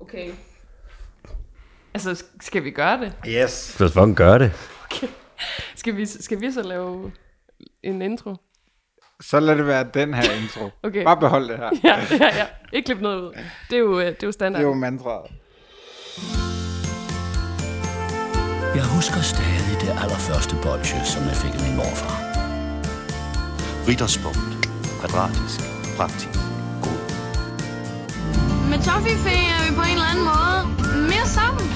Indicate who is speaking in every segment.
Speaker 1: Okay. Altså, skal vi gøre det?
Speaker 2: Yes.
Speaker 3: Lad os fucking gøre det.
Speaker 1: Skal vi, skal vi så lave en intro?
Speaker 2: Så lad det være den her intro.
Speaker 1: Okay.
Speaker 2: Bare behold det her.
Speaker 1: Ja, ja, ja. Ikke klip noget ud. Det er jo, øh, det er jo
Speaker 2: Det
Speaker 1: standard.
Speaker 2: er jo mantraet.
Speaker 4: Jeg husker stadig det allerførste bolsje, som jeg fik af min morfar.
Speaker 5: Ritterspunkt. Kvadratisk. Praktisk. God.
Speaker 6: Med Toffifee er vi på en eller anden måde mere sammen.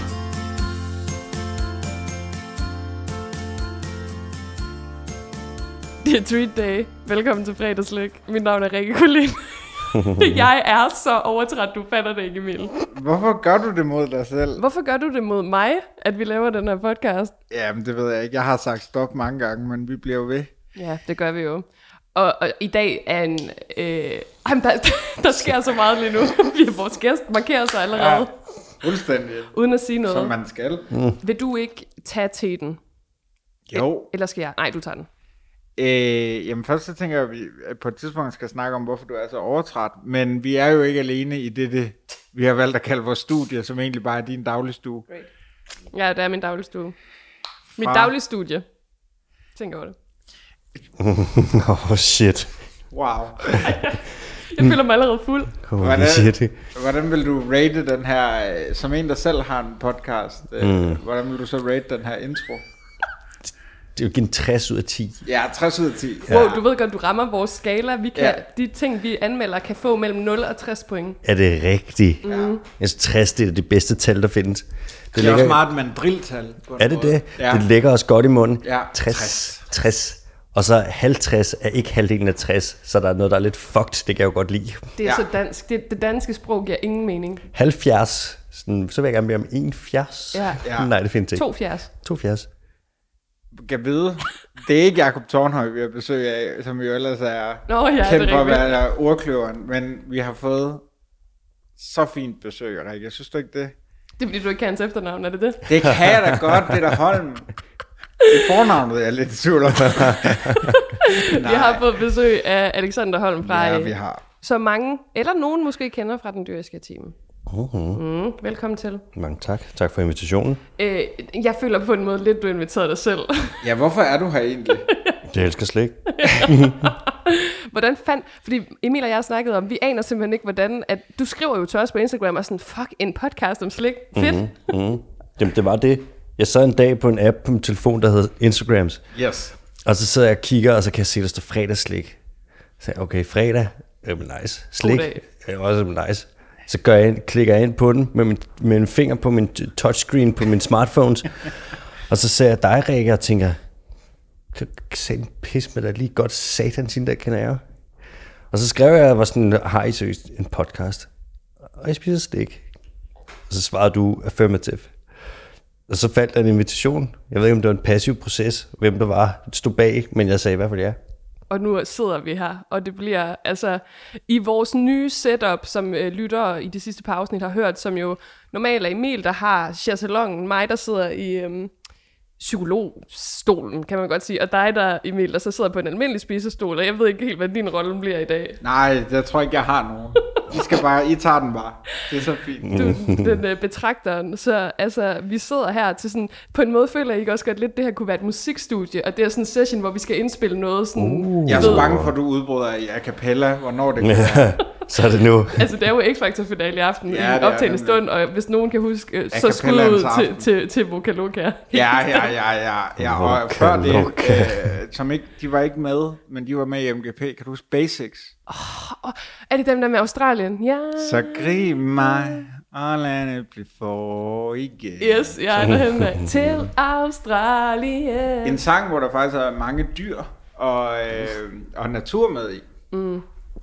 Speaker 1: Det er Treat Day. Velkommen til fredagslyk. Mit navn er Rikke Kulin. jeg er så overtræt, du fatter det ikke, Emil.
Speaker 2: Hvorfor gør du det mod dig selv?
Speaker 1: Hvorfor gør du det mod mig, at vi laver den her podcast?
Speaker 2: Jamen, det ved jeg ikke. Jeg har sagt stop mange gange, men vi bliver jo ved.
Speaker 1: Ja, det gør vi jo. Og, og i dag er en... Øh, ej, men der, der sker så meget lige nu. Vi- Vores gæst markerer sig allerede, ja.
Speaker 2: Fuldstændig.
Speaker 1: uden at sige noget.
Speaker 2: Som man skal.
Speaker 1: Vil du ikke tage teten?
Speaker 2: Jo.
Speaker 1: Eller skal jeg? Nej, du tager den.
Speaker 2: Øh, jamen først så tænker jeg, at vi at på et tidspunkt skal snakke om, hvorfor du er så overtræt. Men vi er jo ikke alene i det, det vi har valgt at kalde vores studie, som egentlig bare er din dagligstue.
Speaker 1: Ja, det er min dagligstue. Mit
Speaker 2: Fra-
Speaker 1: dagligstudie. Tænk over det.
Speaker 3: Åh, oh, shit.
Speaker 2: Wow.
Speaker 1: Jeg føler mig allerede fuld.
Speaker 3: Holy
Speaker 2: Hvordan,
Speaker 3: shit.
Speaker 2: hvordan vil du rate den her, øh, som en der selv har en podcast, øh, mm. hvordan vil du så rate den her intro?
Speaker 3: Det er jo ikke en 60 ud af 10.
Speaker 2: Ja, 60 ud af 10.
Speaker 1: Ja. Wow, du ved godt, du rammer vores skala. Vi kan, ja.
Speaker 2: Ja.
Speaker 1: De ting, vi anmelder, kan få mellem 0 og 60 point.
Speaker 3: Er det rigtigt? Ja. Jeg synes, 60 det er det bedste tal, der findes.
Speaker 2: Det er også meget et mandriltal. på en
Speaker 3: er det
Speaker 2: måde.
Speaker 3: det?
Speaker 2: Ja.
Speaker 3: Det ligger os godt i munden.
Speaker 2: Ja.
Speaker 3: 60. 60. Og så 50 er ikke halvdelen af 60, så der er noget, der er lidt fucked. Det kan jeg jo godt lide.
Speaker 1: Det er ja.
Speaker 2: Ja.
Speaker 1: så dansk. Det, det danske sprog giver ingen mening.
Speaker 3: 70, sådan, så vil jeg gerne bede om 71.
Speaker 1: Ja.
Speaker 2: Ja.
Speaker 3: Nej, det findes ikke.
Speaker 1: 72.
Speaker 3: 72.
Speaker 2: Kan vide. Det er ikke Jakob Tornhøj, vi har besøg af, som jo ellers er
Speaker 1: Nå ja, det er
Speaker 2: kendt for at
Speaker 1: rigtigt.
Speaker 2: være ordkløveren, men vi har fået så fint besøg, Rikke. Jeg synes du ikke det?
Speaker 1: Det er fordi, du ikke kan hans efternavn, er det det?
Speaker 2: Det kan jeg da godt, Peter Holm. Det fornavnet jeg er lidt i tvivl om.
Speaker 1: Vi har fået besøg af Alexander Holm fra
Speaker 2: Ja,
Speaker 1: øh,
Speaker 2: vi har.
Speaker 1: så mange, eller nogen måske kender fra den dyriske time. Uh-huh. Mm, velkommen til.
Speaker 3: Mange tak. Tak for invitationen.
Speaker 1: Øh, jeg føler på en måde lidt, du inviterede dig selv.
Speaker 2: Ja, hvorfor er du her egentlig?
Speaker 3: Det elsker slet ikke.
Speaker 1: Hvordan fandt... Fordi Emil og jeg har snakket om, vi aner simpelthen ikke, hvordan... At, du skriver jo til os på Instagram og sådan, fuck, en podcast om slik. Fedt. Mm-hmm.
Speaker 3: Jamen, det var det. Jeg sad en dag på en app på min telefon, der hedder Instagrams.
Speaker 2: Yes.
Speaker 3: Og så sidder jeg og kigger, og så kan jeg se, der står fredagsslik. Så sagde jeg, okay, fredag, jamen nice. Slik,
Speaker 1: God dag.
Speaker 3: er også jamen, nice. Så gør jeg ind, klikker jeg ind på den med min, med en finger på min t- touchscreen på min smartphones. og så ser jeg dig, Rikke, og tænker, kan satan pis med dig lige godt satan sin der kender jeg. Og så skrev jeg, og var sådan, har I seriøst en podcast? Og jeg spiser slik. Og så svarede du affirmative. Og så faldt der en invitation. Jeg ved ikke, om det var en passiv proces, hvem der var, stod bag, men jeg sagde i hvert fald ja.
Speaker 1: Og nu sidder vi her, og det bliver... Altså, i vores nye setup, som øh, lyttere i de sidste par afsnit har hørt, som jo normalt er Emil, der har chassalongen, mig, der sidder i... Øh, psykologstolen, kan man godt sige, og dig der, Emil, der så sidder på en almindelig spisestol, og jeg ved ikke helt, hvad din rolle bliver i dag.
Speaker 2: Nej, jeg tror ikke, jeg har nogen. I skal bare, I tager den bare. Det er så fint.
Speaker 1: du, den øh, betragteren. Så altså, vi sidder her til sådan, på en måde føler jeg ikke også godt lidt, det her kunne være et musikstudie, og det er sådan en session, hvor vi skal indspille noget sådan, uh.
Speaker 2: Jeg er så bange for, at du udbryder i a cappella, hvornår det kan være.
Speaker 3: så er det nu.
Speaker 1: altså det er jo X-Factor finale i aften,
Speaker 2: Ja,
Speaker 1: ja,
Speaker 2: det
Speaker 1: i
Speaker 2: er
Speaker 1: optagende
Speaker 2: nemlig.
Speaker 1: stund, og hvis nogen kan huske, øh, så
Speaker 2: cappella
Speaker 1: skud ud
Speaker 2: aften.
Speaker 1: til, til, til Vocaloca.
Speaker 2: Ja, ja, ja, ja. ja. Og
Speaker 3: Loka,
Speaker 2: før det,
Speaker 3: loka.
Speaker 2: øh, som ikke, de var ikke med, men de var med i MGP. Kan du huske Basics?
Speaker 1: Er det dem der med Australien? Ja.
Speaker 2: Så grib mig, og lad det blive for igen.
Speaker 1: Yes, jeg er derhen af. Til Australien.
Speaker 2: En sang, hvor der faktisk er mange dyr og, øh, og natur med i.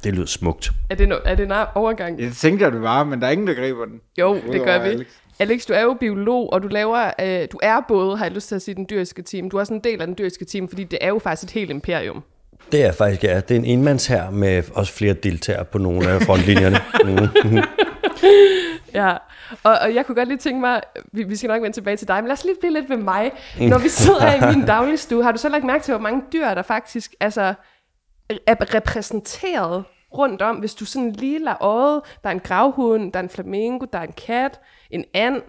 Speaker 3: Det lyder smukt.
Speaker 1: Er det, no, er det en overgang?
Speaker 2: Jeg tænkte, at det var, men der er ingen, der griber den.
Speaker 1: Jo, det
Speaker 2: Udover
Speaker 1: gør vi.
Speaker 2: Alex.
Speaker 1: Alex. Alex, du er jo biolog, og du laver, øh, du er både, har jeg lyst til at sige, den dyriske team. Du er også en del af den dyriske team, fordi det er jo faktisk et helt imperium.
Speaker 3: Det er faktisk, ja. Det er en enmandshær med også flere deltagere på nogle af frontlinjerne. Mm.
Speaker 1: Ja, og, og jeg kunne godt lige tænke mig, vi, vi skal nok vende tilbage til dig, men lad os lige blive lidt ved mig. Når vi sidder her i min dagligstue, har du så lagt mærke til, hvor mange dyr der faktisk altså, er repræsenteret rundt om. Hvis du sådan lige lader øjet, der er en gravhund, der er en flamingo, der er en kat, en and,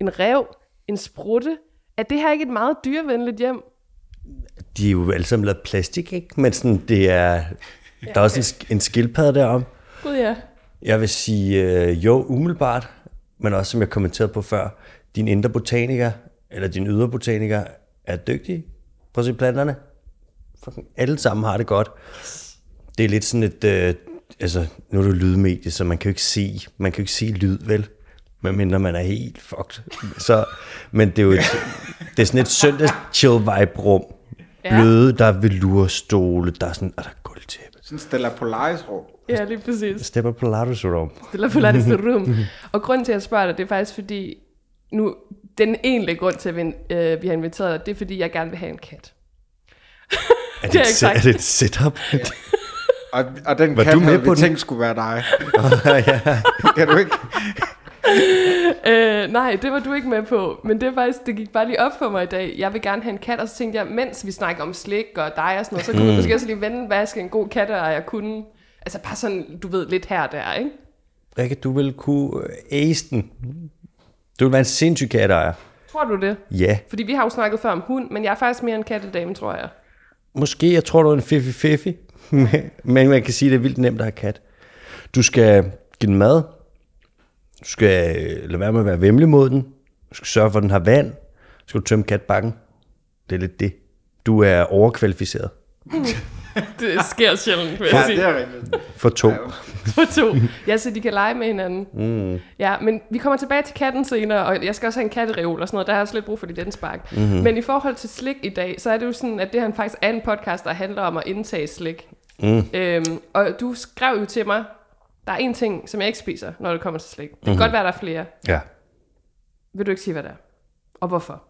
Speaker 1: en rev, en sprutte. Er det her ikke et meget dyrevenligt hjem?
Speaker 3: De er jo alle sammen lavet plastik, ikke? Men sådan, det er... Der er også en, sk- en skildpadde derom.
Speaker 1: Gud ja.
Speaker 3: Jeg vil sige øh, jo, umiddelbart, men også som jeg kommenterede på før, din indre botaniker, eller din ydre botaniker, er dygtig. Prøv at se planterne. Fucking alle sammen har det godt. Det er lidt sådan et, øh, altså nu er du lydmedie, så man kan jo ikke se, man kan jo ikke se lyd, vel? Medmindre man er helt fucked. Så, men det er jo et, det er sådan et søndags chill vibe rum.
Speaker 1: Ja.
Speaker 3: Bløde, der er velurstole, der er sådan, og der er gulvtæppe.
Speaker 2: Sådan stiller Polaris rum.
Speaker 1: Ja, lige præcis.
Speaker 3: Stepper på rum.
Speaker 1: Eller på Lattes Room. Og grunden til, at jeg spørger dig, det er faktisk fordi, nu, den egentlige grund til, at vi, øh, vi har inviteret dig, det er fordi, jeg gerne vil have en kat.
Speaker 3: Er det,
Speaker 1: Det er
Speaker 3: et,
Speaker 1: ikke
Speaker 3: se- er
Speaker 1: sagt.
Speaker 3: det et setup?
Speaker 2: Og, og den
Speaker 3: Var
Speaker 2: var
Speaker 3: du
Speaker 2: kat
Speaker 3: med
Speaker 2: havde
Speaker 3: på
Speaker 2: vi
Speaker 3: den?
Speaker 2: tænkt skulle være dig. kan du ikke?
Speaker 1: Øh, nej, det var du ikke med på, men det, er faktisk, det gik bare lige op for mig i dag. Jeg vil gerne have en kat, og så tænkte jeg, mens vi snakker om slik og dig og sådan noget, så kunne mm. vi måske også lige vende, hvad jeg skal en god kat, og jeg kunne... Altså bare sådan, du ved, lidt her og der, ikke?
Speaker 3: Rikke, du ville kunne øh, ace den. Du ville være en sindssyg katteejer.
Speaker 1: Tror du det?
Speaker 3: Ja,
Speaker 1: Fordi vi har jo snakket før om hund, men jeg er faktisk mere en kattedame, tror jeg.
Speaker 3: måske, jeg tror, du er en fiffi-fiffi. Men man kan sige, det er vildt nemt at have kat. Du skal give den mad. Du skal øh, lade være med at være vemmelig mod den. Du skal sørge for, at den har vand. Du skal tømme katbakken. Det er lidt det. Du er overkvalificeret
Speaker 1: Det sker sjældent, vil
Speaker 2: Ja,
Speaker 1: jeg sige.
Speaker 2: det er rigtigt.
Speaker 3: for to.
Speaker 1: på to. Ja, så de kan lege med hinanden. Mm. Ja, men vi kommer tilbage til katten senere, og jeg skal også have en kattereol og sådan noget. Der har jeg også lidt brug for dit indspark. Mm-hmm. Men i forhold til slik i dag, så er det jo sådan, at det her faktisk er en podcast, der handler om at indtage slik. Mm. Øhm, og du skrev jo til mig, der er en ting, som jeg ikke spiser, når det kommer til slik. Det kan mm-hmm. godt være, der er flere.
Speaker 3: Ja.
Speaker 1: Vil du ikke sige, hvad det er? Og hvorfor?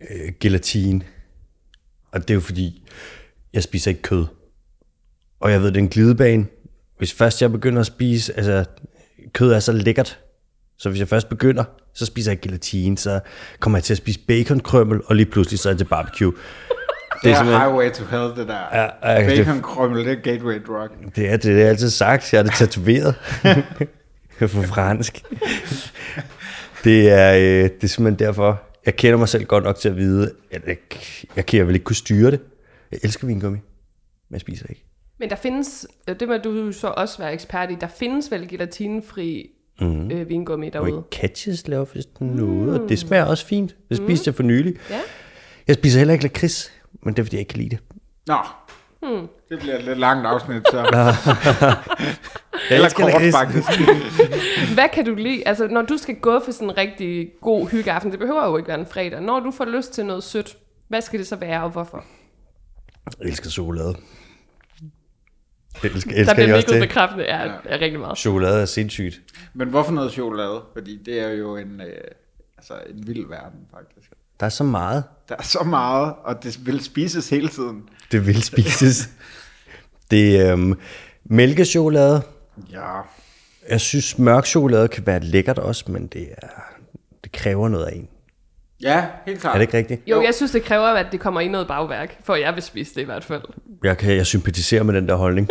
Speaker 3: øh, gelatine. Og det er jo fordi, jeg spiser ikke kød. Og jeg ved, det er en glidebane. Hvis først jeg begynder at spise, altså kød er så lækkert, så hvis jeg først begynder, så spiser jeg ikke gelatine, så kommer jeg til at spise baconkrømmel, og lige pludselig så er det til barbecue.
Speaker 2: Det er
Speaker 3: simpelthen-
Speaker 2: highway to hell, det der.
Speaker 3: Ja, ja, det-
Speaker 2: Bacon krømmel, det er gateway drug.
Speaker 3: Det er det, det har jeg altid sagt. Jeg er det tatoveret. For fransk. Det er, øh, det er simpelthen derfor. Jeg kender mig selv godt nok til at vide, at jeg, jeg kan jeg vil ikke kunne styre det. Jeg elsker vingummi, men jeg spiser ikke.
Speaker 1: Men der findes, og det må du så også være ekspert i, der findes vel gelatinefri mm. øh, vingummi
Speaker 3: Og i
Speaker 1: derude?
Speaker 3: Katjes laver vist noget, og det smager også fint. Det spiste jeg for nylig.
Speaker 1: Mm. Mm-hmm. Ja.
Speaker 3: Jeg spiser heller ikke lakrids, men det er, fordi jeg ikke kan lide det.
Speaker 2: Nå. Det bliver et lidt langt afsnit, så. Eller
Speaker 3: elsker
Speaker 2: kort,
Speaker 3: lakrids.
Speaker 2: faktisk.
Speaker 1: Hvad kan du lide? Altså, når du skal gå for sådan en rigtig god hyggeaften, det behøver jo ikke være en fredag. Når du får lyst til noget sødt, hvad skal det så være, og hvorfor?
Speaker 3: Jeg elsker chokolade. Det elsker,
Speaker 1: Der
Speaker 3: elsker jeg
Speaker 1: bliver
Speaker 3: også
Speaker 1: nikket
Speaker 3: det.
Speaker 1: bekræftende er, er rigtig meget.
Speaker 3: Chokolade er sindssygt.
Speaker 2: Men hvorfor noget chokolade? Fordi det er jo en, øh, altså en vild verden, faktisk.
Speaker 3: Der er så meget.
Speaker 2: Der er så meget, og det vil spises hele tiden.
Speaker 3: Det vil spises. Det er øhm, mælkechokolade.
Speaker 2: Ja.
Speaker 3: Jeg synes, mørk chokolade kan være lækkert også, men det, er, det kræver noget af en.
Speaker 2: Ja, helt klart.
Speaker 3: Er det ikke rigtigt?
Speaker 1: Jo, jeg synes, det kræver, at det kommer i noget bagværk, for jeg vil spise det i hvert fald.
Speaker 3: Jeg, kan, jeg sympatiserer med den der holdning.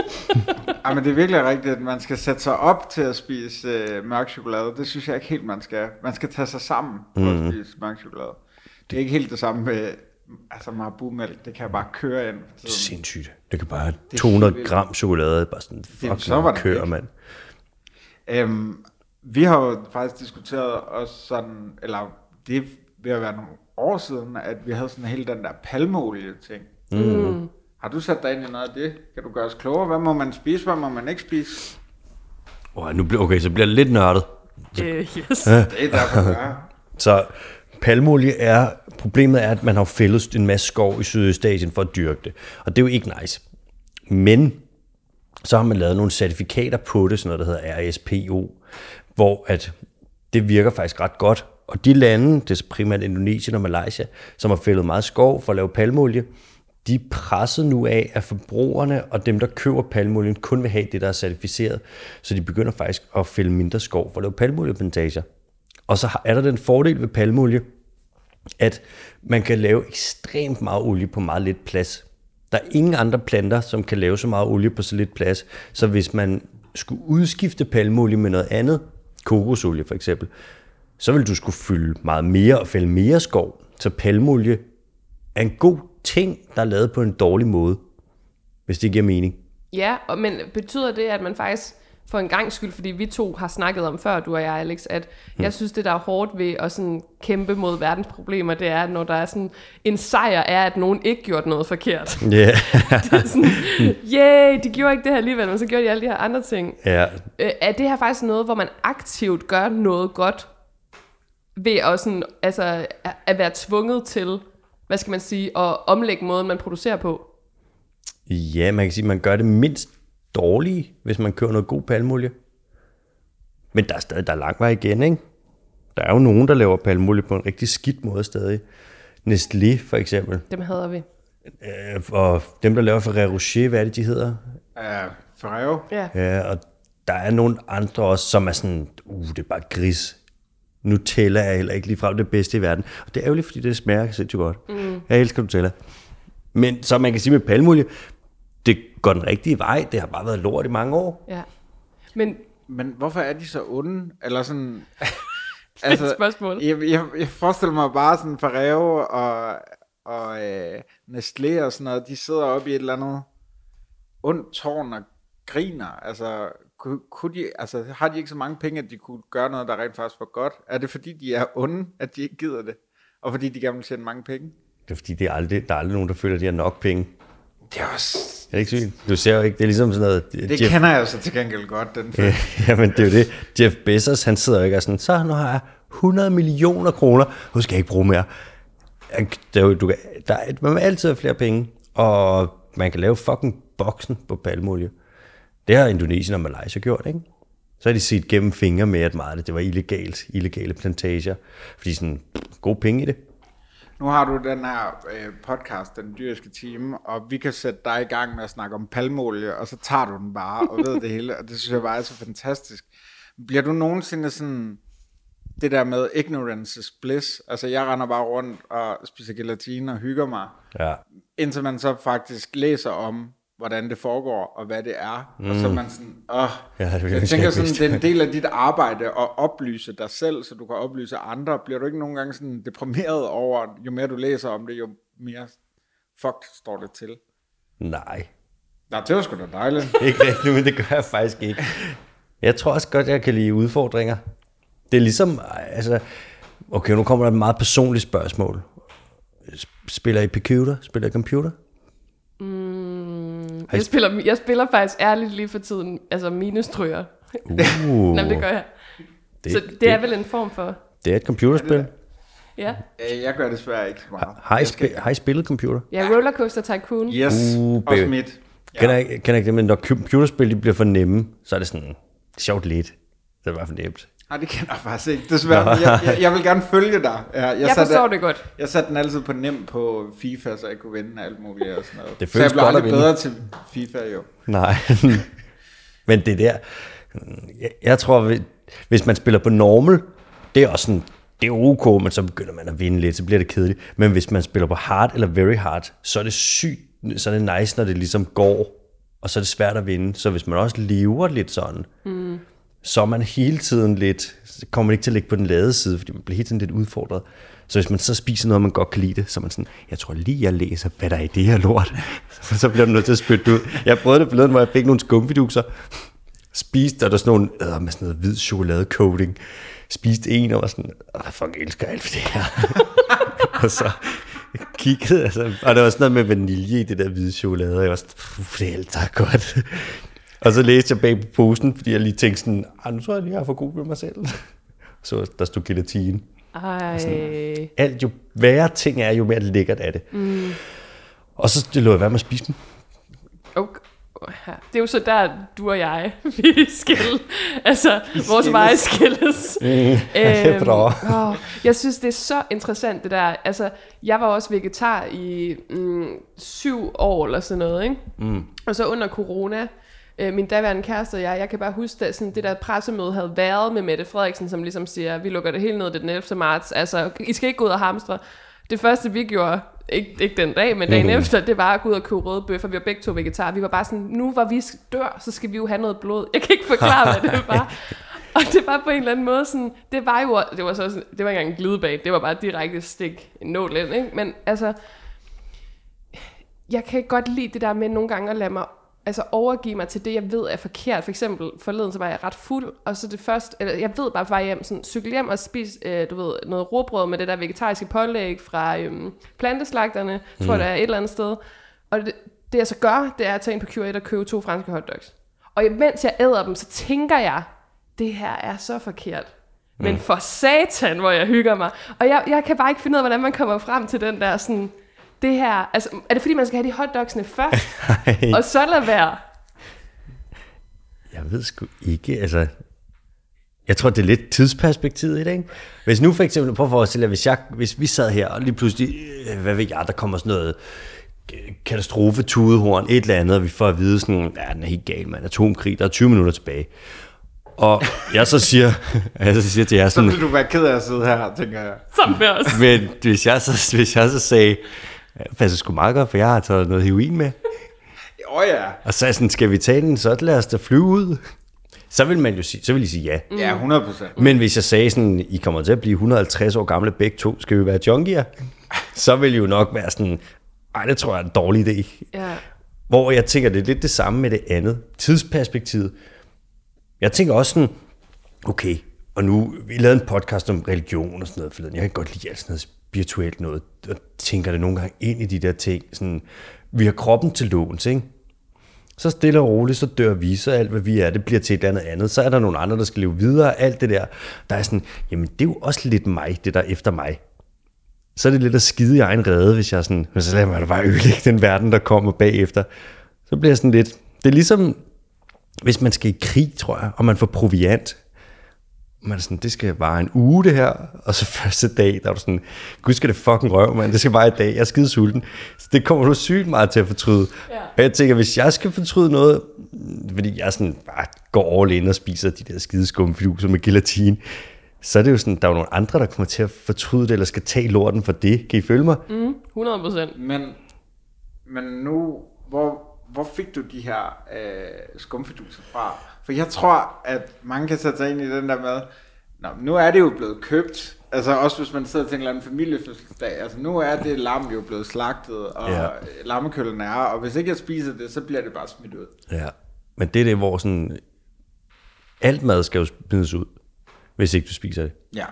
Speaker 2: Ja, men det er virkelig rigtigt, at man skal sætte sig op til at spise øh, mørk chokolade. Det synes jeg ikke helt, man skal. Man skal tage sig sammen for at spise mørk chokolade. Det er ikke helt det samme med altså marabu-mælk. Det kan jeg bare køre ind. Så,
Speaker 3: Sindssygt. Det kan bare 200
Speaker 2: vildt.
Speaker 3: gram chokolade, bare sådan, fuck,
Speaker 2: så var det
Speaker 3: kører,
Speaker 2: fedt.
Speaker 3: mand.
Speaker 2: øhm, vi har jo faktisk diskuteret også sådan, eller det vil at være nogle år siden, at vi havde sådan hele den der palmeolie-ting. Mm. Har du sat dig ind i noget af det? Kan du gøre os klogere? Hvad må man spise? Hvad må man ikke spise?
Speaker 3: Oh, nu bliver, okay, så bliver det lidt nørdet.
Speaker 1: Øh, yes.
Speaker 2: Det er derfor, jeg er.
Speaker 3: Så palmolie er, problemet er, at man har fældet en masse skov i Sydøstasien for at dyrke det. Og det er jo ikke nice. Men så har man lavet nogle certifikater på det, sådan noget, der hedder RSPO, hvor at det virker faktisk ret godt. Og de lande, det er så primært Indonesien og Malaysia, som har fældet meget skov for at lave palmolie, de er presset nu af, at forbrugerne og dem, der køber palmolien, kun vil have det, der er certificeret. Så de begynder faktisk at fælde mindre skov for at lave palmolieplantager. Og så har- er der den fordel ved palmolie, at man kan lave ekstremt meget olie på meget lidt plads. Der er ingen andre planter, som kan lave så meget olie på så lidt plads. Så hvis man skulle udskifte palmeolie med noget andet, kokosolie for eksempel, så vil du skulle fylde meget mere og fælde mere skov. Så palmeolie er en god ting, der er lavet på en dårlig måde, hvis det giver mening.
Speaker 1: Ja, og, men betyder det, at man faktisk for en gang skyld, fordi vi to har snakket om før, du og jeg, Alex, at
Speaker 3: Hmm.
Speaker 1: jeg synes, det der er hårdt ved at sådan kæmpe mod verdens problemer, det er, at når der er sådan en sejr, er, at nogen ikke gjorde noget forkert.
Speaker 3: Yeah.
Speaker 1: det er sådan, yay, de gjorde ikke det her alligevel, men så gjorde de alle de her andre ting.
Speaker 3: ja.
Speaker 1: Øh, er det her faktisk noget, hvor man aktivt gør noget godt ved at, sådan, altså, at- at være tvunget til, hvad skal man sige, at omlægge måden, man producerer på?
Speaker 3: ja, man kan sige, at man gør det mindst dårlige, hvis man kører noget god palmeolie. Men der er stadig der er lang vej igen, ikke? Der er jo nogen, der laver palmeolie på en rigtig skidt måde stadig. Nestlé for eksempel.
Speaker 1: Dem hader vi.
Speaker 3: Øh, og dem, der laver Ferrero Rocher, hvad er det, de hedder?
Speaker 2: Uh, Ferrero.
Speaker 1: Ja.
Speaker 3: Ja, Øh, og der er nogle andre også, som er sådan, uh, det er bare gris. Nutella er heller ikke ligefrem det bedste i verden. Og det er ærgerligt, fordi det smager sindssygt godt. Mm. Jeg elsker Nutella. Men så man kan sige med palmolie, det går den rigtige vej. Det har bare været lort i mange år.
Speaker 1: ja. Men
Speaker 2: Men hvorfor er de så onde? Eller sådan... altså,
Speaker 1: spørgsmål.
Speaker 2: Jeg, jeg, jeg forestiller mig bare sådan Ferrero og, og øh, Nestlé og sådan noget, de sidder oppe i et eller andet ondt tårn og griner. Altså, kunne, kunne de, altså, har de ikke så mange penge, at de kunne gøre noget, der rent faktisk var godt? Er det fordi, de er onde, at de ikke gider det? Og fordi de gerne vil tjene mange penge?
Speaker 3: Det er fordi, det er aldrig, der er aldrig nogen, der føler, at de har nok penge.
Speaker 2: Det er også...
Speaker 3: Er det ikke sygt? Du ser jo ikke, det er ligesom sådan noget...
Speaker 2: Det
Speaker 3: Jeff-
Speaker 2: kender jeg så til gengæld godt, den film.
Speaker 3: Øh, Jamen, det er jo det. Jeff Bezos, han sidder jo ikke og er sådan, så nu har jeg 100 millioner kroner, nu skal jeg ikke bruge mere. Han- Der, er jo- du kan, der, er- man vil altid have flere penge, og man kan lave fucking boksen på palmolie. Det har Indonesien og Malaysia gjort, ikke? Så har de set gennem fingre med, at meget af det, det var illegalt, illegale plantager, fordi sådan, pff, gode penge i det.
Speaker 2: Nu har du den her øh, podcast, Den Dyriske Time, og vi kan sætte dig i gang med at snakke om palmolie, og så tager du den bare og ved det hele, og det synes jeg bare er så fantastisk. Bliver du nogensinde sådan, det der med ignorance is bliss, altså jeg render bare rundt og spiser gelatine og hygger mig,
Speaker 3: Ja.
Speaker 2: indtil man så faktisk læser om, hvordan det foregår, og hvad det er, mm. og så er man sådan, åh,
Speaker 3: det vil jeg
Speaker 2: jeg tænker
Speaker 3: ikke
Speaker 2: sådan,
Speaker 3: vidst.
Speaker 2: det er en del af dit arbejde at oplyse dig selv, så du kan oplyse andre. Bliver du ikke nogle gange sådan deprimeret over, jo mere du læser om det, jo mere fucked står det til?
Speaker 3: Nej,
Speaker 2: Nej, det var sgu da dejligt.
Speaker 3: ikke rigtigt, men det gør jeg faktisk ikke. Jeg tror også godt, jeg kan lide udfordringer. Det er ligesom, altså, okay, nu kommer der et meget personligt spørgsmål. Sp- Spiller I computer? Spiller I computer?
Speaker 1: jeg spiller, jeg spiller faktisk ærligt lige for tiden, altså minestryger. Uh.
Speaker 3: Uh,
Speaker 1: Jamen, det gør jeg. Det, så det, det, er vel en form for...
Speaker 3: det er et computerspil.
Speaker 1: Ja,
Speaker 2: Øh, jeg gør desværre ikke så meget.
Speaker 3: Har I, spi- har I spillet computer?
Speaker 1: ja Rollercoaster Tycoon.
Speaker 2: Yes,
Speaker 3: Uh,
Speaker 2: uh, også
Speaker 3: baby.
Speaker 2: mit.
Speaker 3: Ja. Kan, jeg, ikke- kan jeg ikke det, men når computerspil de bliver for nemme, så er det sådan sjovt lidt. Det er bare for nemt.
Speaker 2: Nej, det kender jeg faktisk ikke, desværre. men Jeg, jeg, jeg vil gerne følge dig. Ja, jeg,
Speaker 1: Jeg
Speaker 2: satte-
Speaker 1: forstår det godt.
Speaker 2: Jeg satte den altid på nem på FIFA, så jeg kunne vinde alt muligt og sådan noget.
Speaker 3: Det
Speaker 2: så jeg
Speaker 3: føles
Speaker 2: blev
Speaker 3: godt at
Speaker 2: aldrig
Speaker 3: vinde.
Speaker 2: bedre til FIFA, jo.
Speaker 3: Nej. Men det der, jeg, jeg tror, vi- hvis man spiller på normal, det er også sådan, det er ok, men så begynder man at vinde lidt, så bliver det kedeligt. Men hvis man spiller på hard eller very hard, så er det sygt, så er det nice, når det ligesom går, og så er det svært at vinde. Så hvis man også lever lidt sådan, mm. så er man hele tiden lidt, så kommer man ikke til at ligge på den lade side, fordi man bliver hele tiden lidt udfordret. Så hvis man så spiser noget, man godt kan lide det, så er man sådan, jeg tror lige, jeg læser, hvad der er i det her lort. så bliver man nødt til at spytte det ud. Jeg prøvede det forleden, hvor jeg fik nogle skumfiduser. Spiste, og der er sådan nogle, øh, med sådan noget hvid chokolade-coating. Spiste en, og var sådan, åh, jeg fucking elsker alt for det her. og så kiggede, altså, og der var sådan noget med vanilje i det der hvide chokolade, og jeg var sådan, "Puh, det er alt der er godt. og så læste jeg bag på posen, fordi jeg lige tænkte sådan, ah, nu tror jeg lige, jeg er for god ved mig selv. så der stod gelatine.
Speaker 1: Ej,
Speaker 3: Alt jo værre ting er, jo mere lækkert er det. Mm. Og så lå jeg være med at spise dem.
Speaker 1: okay. Det er jo så der, du og jeg, vi skille. Altså, vores veje skilles. Øhm,
Speaker 3: det er bra.
Speaker 1: Åh, jeg synes, det er så interessant, det der. Altså, jeg var også vegetar i mm, syv år eller sådan noget, ikke? Mm. Og så under corona, øh, min daværende kæreste og jeg, jeg kan bare huske, at sådan, det der pressemøde havde været med Mette Frederiksen, som ligesom siger, vi lukker det hele ned den 11. marts, altså, I skal ikke gå ud og hamstre. Det første, vi gjorde, ikke, ikke den dag, men dagen mm. efter, det var at gå ud og købe røde bøffer. Vi var begge to vegetarer. Vi var bare sådan, nu hvor vi dør, så skal vi jo have noget blod. Jeg kan ikke forklare, hvad det var. Og det var på en eller anden måde sådan, det var jo, det var, så sådan, det var ikke engang en glidebane, det var bare direkte stik en nål ind, ikke? Men altså, jeg kan godt lide det der med nogle gange at lade mig altså overgive mig til det, jeg ved er forkert. For eksempel forleden, så var jeg ret fuld, og så det første, eller jeg ved bare på vej hjem, sådan, cykel hjem og spis, øh, du ved, noget råbrød med det der vegetariske pålæg fra øhm, planteslagterne, mm. tror jeg, der er et eller andet sted. Og det, det jeg så gør, det er at tage ind på Q1 og købe to franske hotdogs. Og mens jeg æder dem, så tænker jeg, det her er så forkert. Men
Speaker 3: Mm.
Speaker 1: for satan, hvor jeg hygger mig. Og jeg, jeg kan bare ikke finde ud af, hvordan man kommer frem til den der sådan, det her, altså, er det fordi, man skal have de hotdogsene først,
Speaker 3: Ej.
Speaker 1: og så lade være?
Speaker 3: Jeg ved sgu ikke, altså... Jeg tror, det er lidt tidsperspektivet i det, ikke? Hvis nu for eksempel, prøv at forestille jer, hvis, jeg, hvis vi sad her, og lige pludselig, øh, hvad ved jeg, der kommer sådan noget øh, katastrofe, tudehorn, et eller andet, og vi får at vide sådan, ja, den er helt gal, mand, atomkrig, der er 20 minutter tilbage. Og jeg så siger, jeg så siger til jer
Speaker 2: Så
Speaker 3: sådan,
Speaker 2: vil du være ked af at sidde her, tænker jeg.
Speaker 1: Som med os.
Speaker 3: men hvis jeg så, hvis jeg så sagde, "Ja, det passer sgu meget godt, for jeg har taget noget heroin med,
Speaker 2: Åh oh, ja.
Speaker 3: og så er jeg sådan, skal vi tage den, så lad os da flyve ud. Så vil man jo sige, så vil I sige ja.
Speaker 2: Ja,
Speaker 1: Mm.
Speaker 2: 100 procent.
Speaker 3: Men hvis jeg sagde sådan, I kommer til at blive 150 år gamle begge to, skal vi være junkier? Så vil I jo nok være sådan, ej, det tror jeg er en dårlig idé.
Speaker 1: Ja.
Speaker 3: Hvor jeg tænker, det er lidt det samme med det andet. Tidsperspektivet. Jeg tænker også sådan, okay, og nu, vi lavede en podcast om religion og sådan noget forleden. Jeg kan godt lide alt sådan noget spirituelt noget, og tænker det nogle gange ind i de der ting. Sådan, vi har kroppen til låns, ikke? Så stille og roligt, så dør vi, så alt hvad vi er, det bliver til et eller andet andet. Så er der nogle andre, der skal leve videre, alt det der. Der er sådan, jamen det er jo også lidt mig, det der er efter mig. Så er det lidt at skide i egen redde, hvis jeg er sådan, men så lader man da bare ødelægge den verden, der kommer bagefter. Så bliver jeg sådan lidt, det er ligesom, hvis man skal i krig, tror jeg, og man får proviant, man er sådan, det skal vare en uge det her, og så første dag, der er du sådan, gud skal det fucking røv, man, det skal bare i dag, jeg er skide sulten. Så det kommer du sygt meget til at fortryde. Ja. Og jeg tænker, hvis jeg skal fortryde noget, fordi jeg sådan bare går all in og spiser de der skide skumfiduser med gelatine, så er det jo sådan, der er jo nogle andre, der kommer til at fortryde det, eller skal tage lorten for det. Kan I følge mig? Mm.
Speaker 1: 100 procent.
Speaker 2: Men, men nu, hvor, hvor fik du de her øh, skumfiduser fra? For jeg tror, at mange kan sætte sig ind i den der med, Nå, men nu er det jo blevet købt, altså også hvis man sidder til en eller anden familiefødselsdag, altså nu er det lam jo blevet slagtet, og
Speaker 3: Ja.
Speaker 2: ja. lammekøllen er, og hvis ikke jeg spiser det, så bliver det bare smidt ud.
Speaker 3: Ja. Men det er det, hvor sådan, alt mad skal jo smides ud, hvis ikke du spiser det.
Speaker 2: Ja.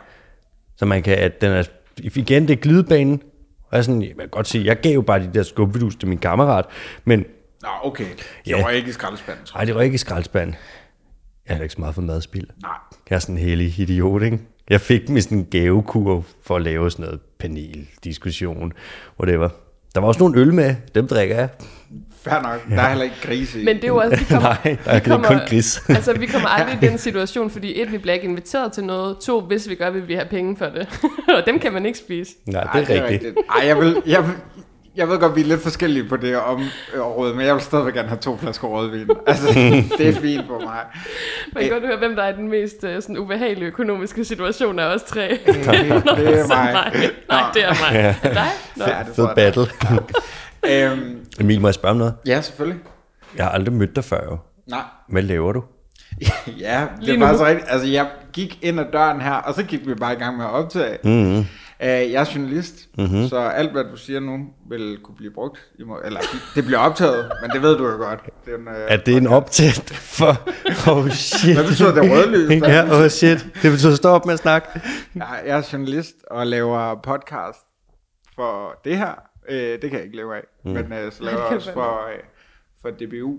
Speaker 3: Så man kan, at den er, igen, det er glidebanen. Og jeg, er sådan, jeg kan godt sige, jeg gav jo bare de der skumvidus til min kammerat, men
Speaker 2: Nå, okay. Jeg
Speaker 3: Ja.
Speaker 2: ja. var ikke i skraldespanden, tror jeg.
Speaker 3: nej, det var ikke i skraldespanden. Jeg er da ikke så meget for madspil.
Speaker 2: Nej.
Speaker 3: Jeg er sådan en hellig idiot, ikke? Jeg fik dem i sådan en gavekur for at lave sådan noget panel, diskussion, whatever. Der var også nogle øl med, dem drikker jeg.
Speaker 2: Fair nok, der er heller ikke grise i.
Speaker 1: Men det er jo også, vi kommer,
Speaker 3: Nej, der er
Speaker 1: vi
Speaker 3: kun gris.
Speaker 1: altså, vi kommer aldrig i den situation, fordi et, vi bliver ikke inviteret til noget, to, hvis vi gør, vil vi have penge for det. og dem kan man ikke spise.
Speaker 3: Nej,
Speaker 2: Ej,
Speaker 3: det er rigtigt.
Speaker 2: Ej, jeg vil, jeg vil, jeg ved godt, vi er lidt forskellige på det om område, men jeg vil stadigvæk gerne have to flasker rødvin. Altså, det er fint for mig.
Speaker 1: Man kan godt høre, hvem der er i den mest øh, sådan, ubehagelige økonomiske situation af os tre.
Speaker 2: Mm. Det er
Speaker 1: Så
Speaker 2: mig.
Speaker 1: mig. Nej, det er mig. Er det dig? Nå.
Speaker 2: Ja, det
Speaker 3: Fed
Speaker 2: tror jeg da.
Speaker 3: battle.
Speaker 2: Øhm,
Speaker 3: Emil, må jeg spørge om noget?
Speaker 2: ja, selvfølgelig.
Speaker 3: Jeg har aldrig mødt dig før, jo.
Speaker 2: Nej.
Speaker 3: Hvad laver du?
Speaker 2: ja, det
Speaker 1: Lige
Speaker 2: er
Speaker 1: nu.
Speaker 2: faktisk rigtigt. Altså, jeg gik ind ad døren her, og så gik vi bare i gang med at optage. Mm-hmm. Øh, jeg er journalist, mm-hmm. så alt, hvad du siger nu, vil kunne blive brugt. I må, eller, det bliver optaget, men det ved du jo godt. Det er en, øh,
Speaker 3: Er det en optæt for... Oh shit.
Speaker 2: Hvad betyder det røde lys? Hvad
Speaker 3: ja, oh shit. Det betyder stop med at snakke.
Speaker 2: Jeg, jeg er journalist og laver podcast for det her. Øh, det kan jeg ikke leve af, mm. men øh, så laver jeg også for, øh, for DBU.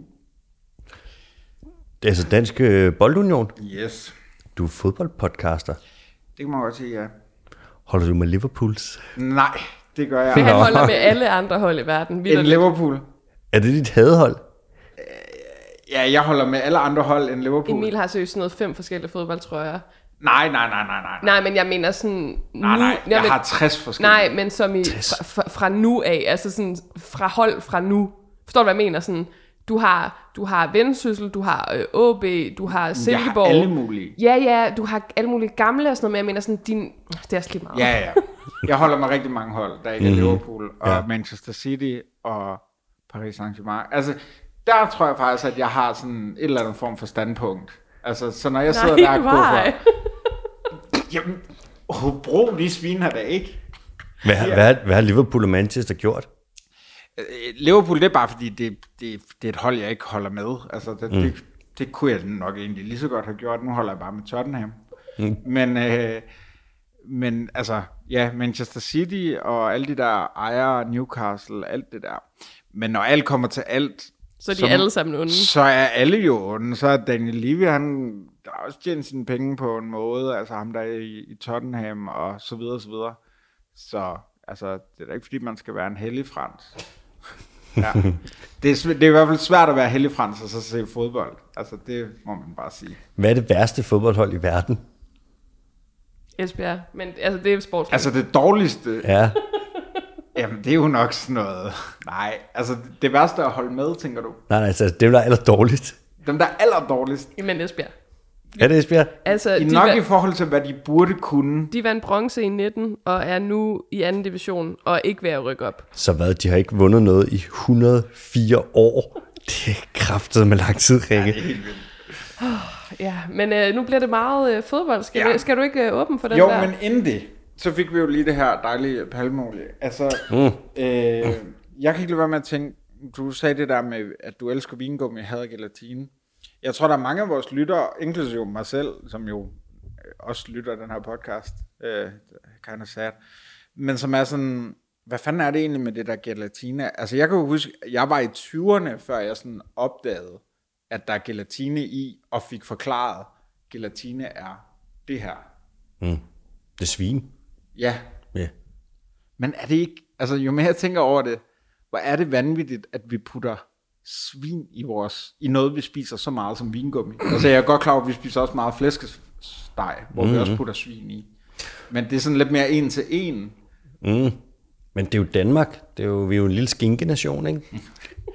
Speaker 3: Det er altså Dansk øh, Boldunion.
Speaker 2: Yes.
Speaker 3: Du er fodboldpodcaster.
Speaker 2: Det kan man godt sige, ja.
Speaker 3: Holder du med Liverpools?
Speaker 2: Nej, det gør jeg.
Speaker 1: Han
Speaker 2: ikke.
Speaker 1: holder med alle andre hold i verden. Vi
Speaker 2: En Liverpool.
Speaker 3: Er det dit hadehold?
Speaker 2: Ja, jeg holder med alle andre hold end Liverpool.
Speaker 1: Emil har seriøst sådan noget fem forskellige fodboldtrøjer.
Speaker 2: Nej, nej, nej, nej, nej.
Speaker 1: Nej, men jeg mener sådan... Nu,
Speaker 2: Nej, nej, jeg
Speaker 1: men-
Speaker 2: har 60 forskellige.
Speaker 1: Nej, men som i fra, fra, fra nu af, altså sådan fra hold fra nu. Forstår du, hvad jeg mener? Sådan, du har, du har Vendsyssel, du har øh, OB, du har
Speaker 2: jeg
Speaker 1: Silkeborg.
Speaker 2: har alle mulige.
Speaker 1: Ja, ja, du har alle mulige gamle og sådan noget, men jeg mener sådan din... Det er også lige meget.
Speaker 2: Ja, ja. Jeg holder med rigtig mange hold, der ikke er
Speaker 3: Mhm.
Speaker 2: Liverpool og
Speaker 3: Ja.
Speaker 2: ja. Manchester City og Paris Saint-Germain. Altså, der tror jeg faktisk, at jeg har sådan en eller anden form for standpunkt. Altså, så når jeg sidder der og går
Speaker 1: nej.
Speaker 2: for, jamen, Hobro, de sviner da ikke.
Speaker 3: Hvad, yeah. hvad, hvad har Liverpool og Manchester gjort?
Speaker 2: Øh, Liverpool, det er bare fordi, det, det, det er et hold, jeg ikke holder med. Altså, det, mm. det, det kunne jeg nok egentlig lige så godt have gjort. Nu holder jeg bare med Tottenham. Mm. Men, øh, men altså, ja, Manchester City og alle de der ejere, Newcastle, alt det der. Men når alt kommer til alt,
Speaker 1: Så er de
Speaker 2: Som-
Speaker 1: alle sammen onde.
Speaker 2: så er alle jo onde. Så er Daniel Levy, han der har også tjent sine penge på en måde. Altså ham der i, i Tottenham og så videre, så videre. Så altså, det er da ikke fordi, man skal være en hellig frans. Ja. Det, er, sv- det er i hvert fald svært at være hellig frans og så se fodbold. Altså, det må man bare sige.
Speaker 3: Hvad er det værste fodboldhold i verden?
Speaker 1: Esbjerg. Men altså, det er sports.
Speaker 2: Altså, det dårligste, ja.
Speaker 3: Ja,
Speaker 2: jamen, det er jo nok sådan noget. Nej, altså, det værste at holde med, tænker du.
Speaker 3: nej, nej, altså, det er jo aller dårligt.
Speaker 2: Dem, der er allerdårligst,
Speaker 1: Men Esbjerg.
Speaker 3: Er det Esbjerg?
Speaker 1: Altså,
Speaker 2: i
Speaker 1: de,
Speaker 2: nok i
Speaker 1: var,
Speaker 2: forhold til, hvad de burde kunne.
Speaker 1: de vandt bronze i 19, og er nu i anden division, og er ikke ved at rykke op.
Speaker 3: Så hvad, de har ikke vundet noget i 104 år. Det er kraftet med lang tid, Rikke.
Speaker 1: Ja, men øh, nu bliver det meget øh, fodbold. Skal,
Speaker 2: Ja.
Speaker 1: ja. skal du ikke øh, åbne for den
Speaker 2: Jo,
Speaker 1: der?
Speaker 2: men inden det, så fik vi jo lige det her dejlige palmeolie. Altså, mm. øh, jeg kan ikke lade være med at tænke, du sagde det der med, at du elsker vingummi, hader gelatine. Jeg tror, der er mange af vores lyttere, inklusive mig selv, som jo øh, også lytter den her podcast, øh, kind of sad, men som er sådan, hvad fanden er det egentlig med det der gelatine? Altså, jeg kan jo huske, jeg var i 20'erne, før jeg sådan opdagede, at der er gelatine i, og fik forklaret, gelatine er det her.
Speaker 3: Det er svin.
Speaker 2: Ja,
Speaker 3: Ja.
Speaker 2: men er det ikke... Altså, jo mere jeg tænker over det, hvor er det vanvittigt, at vi putter svin i vores... I noget, vi spiser så meget som vingummi. Altså, jeg er godt klar over, at vi spiser også meget flæskesteg, hvor mm-hmm. vi også putter svin i. Men det er sådan lidt mere en til en.
Speaker 3: Mm. Men det er jo Danmark. Det er jo, vi er jo en lille skinkenation, ikke?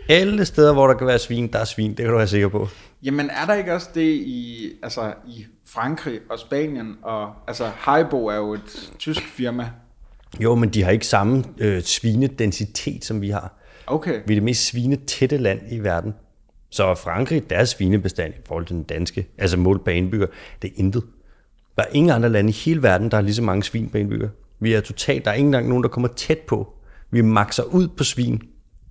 Speaker 3: Alle steder, hvor der kan være svin, der er svin. Det kan du være sikker på.
Speaker 2: Jamen, er der ikke også det i, altså, i Frankrig og Spanien? Og, altså, Haribo er jo et tysk firma.
Speaker 3: Jo, men de har ikke samme øh, svinedensitet, som vi har.
Speaker 2: Okay.
Speaker 3: Vi er det mest svinetætte land i verden. Så Frankrig, deres svinebestand i forhold til den danske, altså målt per indbygger, det er intet. Der er ingen andre lande i hele verden, der har lige så mange svin per indbygger. Vi er totalt, der er ikke engang nogen, der kommer tæt på. Vi makser ud på svin.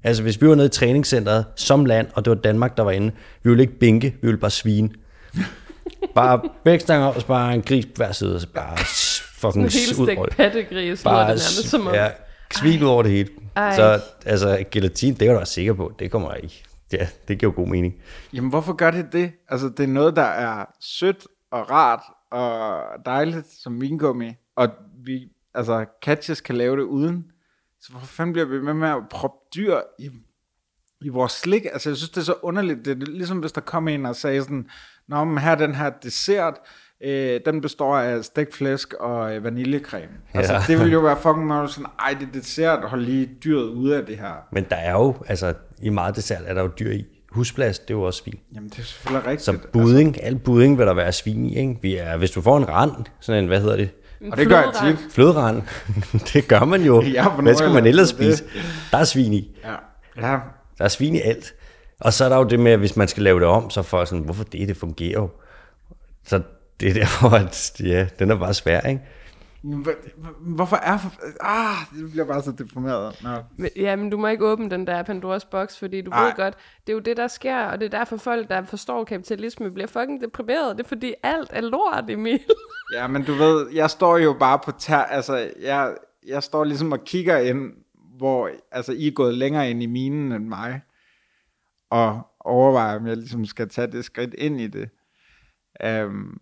Speaker 3: Altså hvis vi var nede i træningscenteret som land, og det var Danmark, der var inde, vi ville ikke bænke, vi ville bare svine. Bare vækstanger og bare en gris på hver side, og så bare s- fucking
Speaker 1: En
Speaker 3: s-
Speaker 1: helt
Speaker 3: ud.
Speaker 1: stik pattegris, lyder det nærmest som om.
Speaker 3: ja, svin ud over det hele.
Speaker 1: Ej.
Speaker 3: Så altså, gelatine, det kan du være sikker på. Det kommer ikke. Ja, det giver jo god mening.
Speaker 2: Jamen, hvorfor gør det det? Altså, det er noget, der er sødt og rart og dejligt som vingummi, og vi, altså, catches kan lave det uden. Så hvorfor fanden bliver vi med med at proppe dyr i, i vores slik? Altså, jeg synes, det er så underligt. Det er ligesom, hvis der kom en og sagde sådan, Nå, men her er den her dessert, øh, den består af stegt flæsk og øh, vaniljekreme. Altså,
Speaker 3: Ja.
Speaker 2: det ville jo være fucking meget sådan, ej, det er dessert, hold lige dyret ude af det her.
Speaker 3: Men der er jo, altså i meget dessert er der jo dyr i. Husplads, det er jo også svin.
Speaker 2: Jamen, det er selvfølgelig rigtigt.
Speaker 3: Så budding, altså, alt budding vil der være svin i. Ikke? Vi er, hvis du får en rand, sådan en, hvad hedder det,
Speaker 2: og det gør jeg
Speaker 1: fløderet.
Speaker 2: tit.
Speaker 3: fløderand, det gør man jo.
Speaker 2: Ja, på
Speaker 3: hvad skal man
Speaker 2: Nordjylland,
Speaker 3: ellers
Speaker 2: så det-
Speaker 3: spise? Der er svin i.
Speaker 2: Ja. ja.
Speaker 3: Der er svin i alt. Og så er der jo det med, at hvis man skal lave det om, så får jeg sådan, hvorfor det, det fungerer jo. Så det er derfor, at ja, den er bare svær, ikke?
Speaker 2: Hvor- Hvorfor er... Ah, det bliver bare så deprimeret. Nå.
Speaker 1: Men- Ja, men du må ikke åbne den der Pandoras boks, fordi du
Speaker 2: Nej.
Speaker 1: ved godt, det er jo det, der sker, og det er derfor folk, der forstår kapitalisme, bliver fucking deprimeret. Det er fordi alt er lort, Emil.
Speaker 2: Ja, men du ved, jeg står jo bare på tær... Altså, jeg, jeg står ligesom og kigger ind, hvor altså, I er gået længere ind i minen end mig, og overvejer, om jeg ligesom skal tage det skridt ind i det. Um,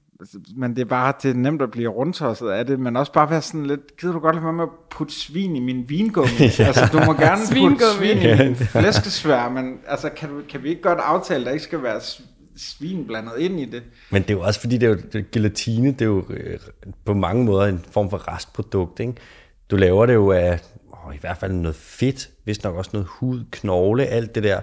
Speaker 2: men det er bare det er nemt at blive rundtosset af det, men også bare være sådan lidt, gider du godt lade være med at putte svin i min vingummi? ja. Altså, du må gerne putte
Speaker 1: Svingummi.
Speaker 2: svin i min flæskesvær, men altså, kan, du- kan vi ikke godt aftale, at der ikke skal være sv- svin blandet ind i det?
Speaker 3: Men det er jo også fordi, det er jo, det er gelatine, det er jo øh, på mange måder en form for restprodukt. Ikke? Du laver det jo af åh, i hvert fald noget fedt, hvis nok også noget hud, knogle, alt det der,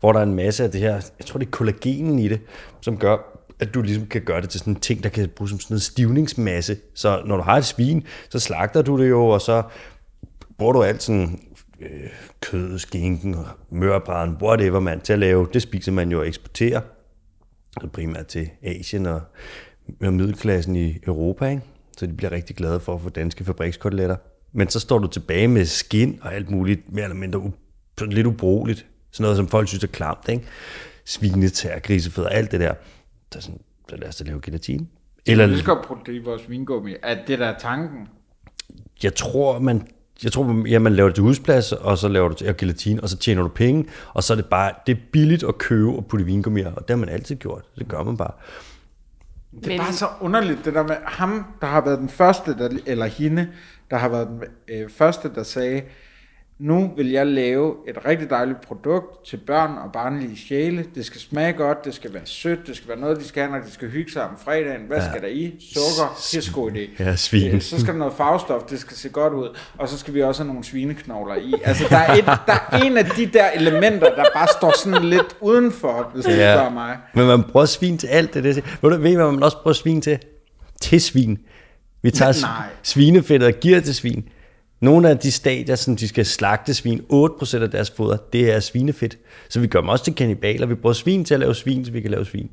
Speaker 3: hvor der er en masse af det her, jeg tror det er kollagenen i det, som gør, at du ligesom kan gøre det til sådan en ting, der kan bruges som sådan en stivningsmasse. Så når du har et svin, så slagter du det jo, og så bruger du alt sådan øh, kød, skinken, mørbræden, whatever man til at lave. Det spiser man jo og eksporterer. Så primært til Asien og, og middelklassen i Europa, ikke? Så de bliver rigtig glade for at få danske fabrikskoteletter. Men så står du tilbage med skin og alt muligt, mere eller mindre u- sådan lidt ubrugeligt. Sådan noget, som folk synes er klamt, ikke? Svinetær, grisefødder, alt det der. Så, er sådan, så lad os da lave gelatine.
Speaker 2: Vi
Speaker 3: Eller
Speaker 2: skal putte det i vores vingummi. At det der er tanken.
Speaker 3: jeg tror, man, jeg tror, ja, man laver det til husplads, og så laver du til og gelatine, og så tjener du penge, og så er det bare, det er billigt at købe og putte i vingummier, og det har man altid gjort. Det gør man bare.
Speaker 2: Det er bare så underligt, det der med ham, der har været den første, der, eller hende, der har været den øh, første, der sagde, nu vil jeg lave et rigtig dejligt produkt til børn og barnlige sjæle. Det skal smage godt, det skal være sødt, det skal være noget, de skal have, når de skal hygge sig om fredagen. Hvad ja. skal der i? Sukker, pissegod idé.
Speaker 3: Ja, svin.
Speaker 2: Øh, Så skal der noget farvestof, det skal se godt ud. Og så skal vi også have nogle svineknogler i. Altså, der er, et, der er en af de der elementer, der bare står sådan lidt udenfor, hvis du spørger mig.
Speaker 3: Men man bruger svin til alt det der. Ved du, ved I, hvad man også bruger svin til? Til svin. Vi tager
Speaker 2: Nej.
Speaker 3: Nej. svinefedt og giver til svin. Nogle af de stater, som de skal slagte svin, 8% af deres foder, det er svinefedt. Så vi gør dem også til kannibaler. Vi bruger svin til at lave svin, så vi kan lave svin.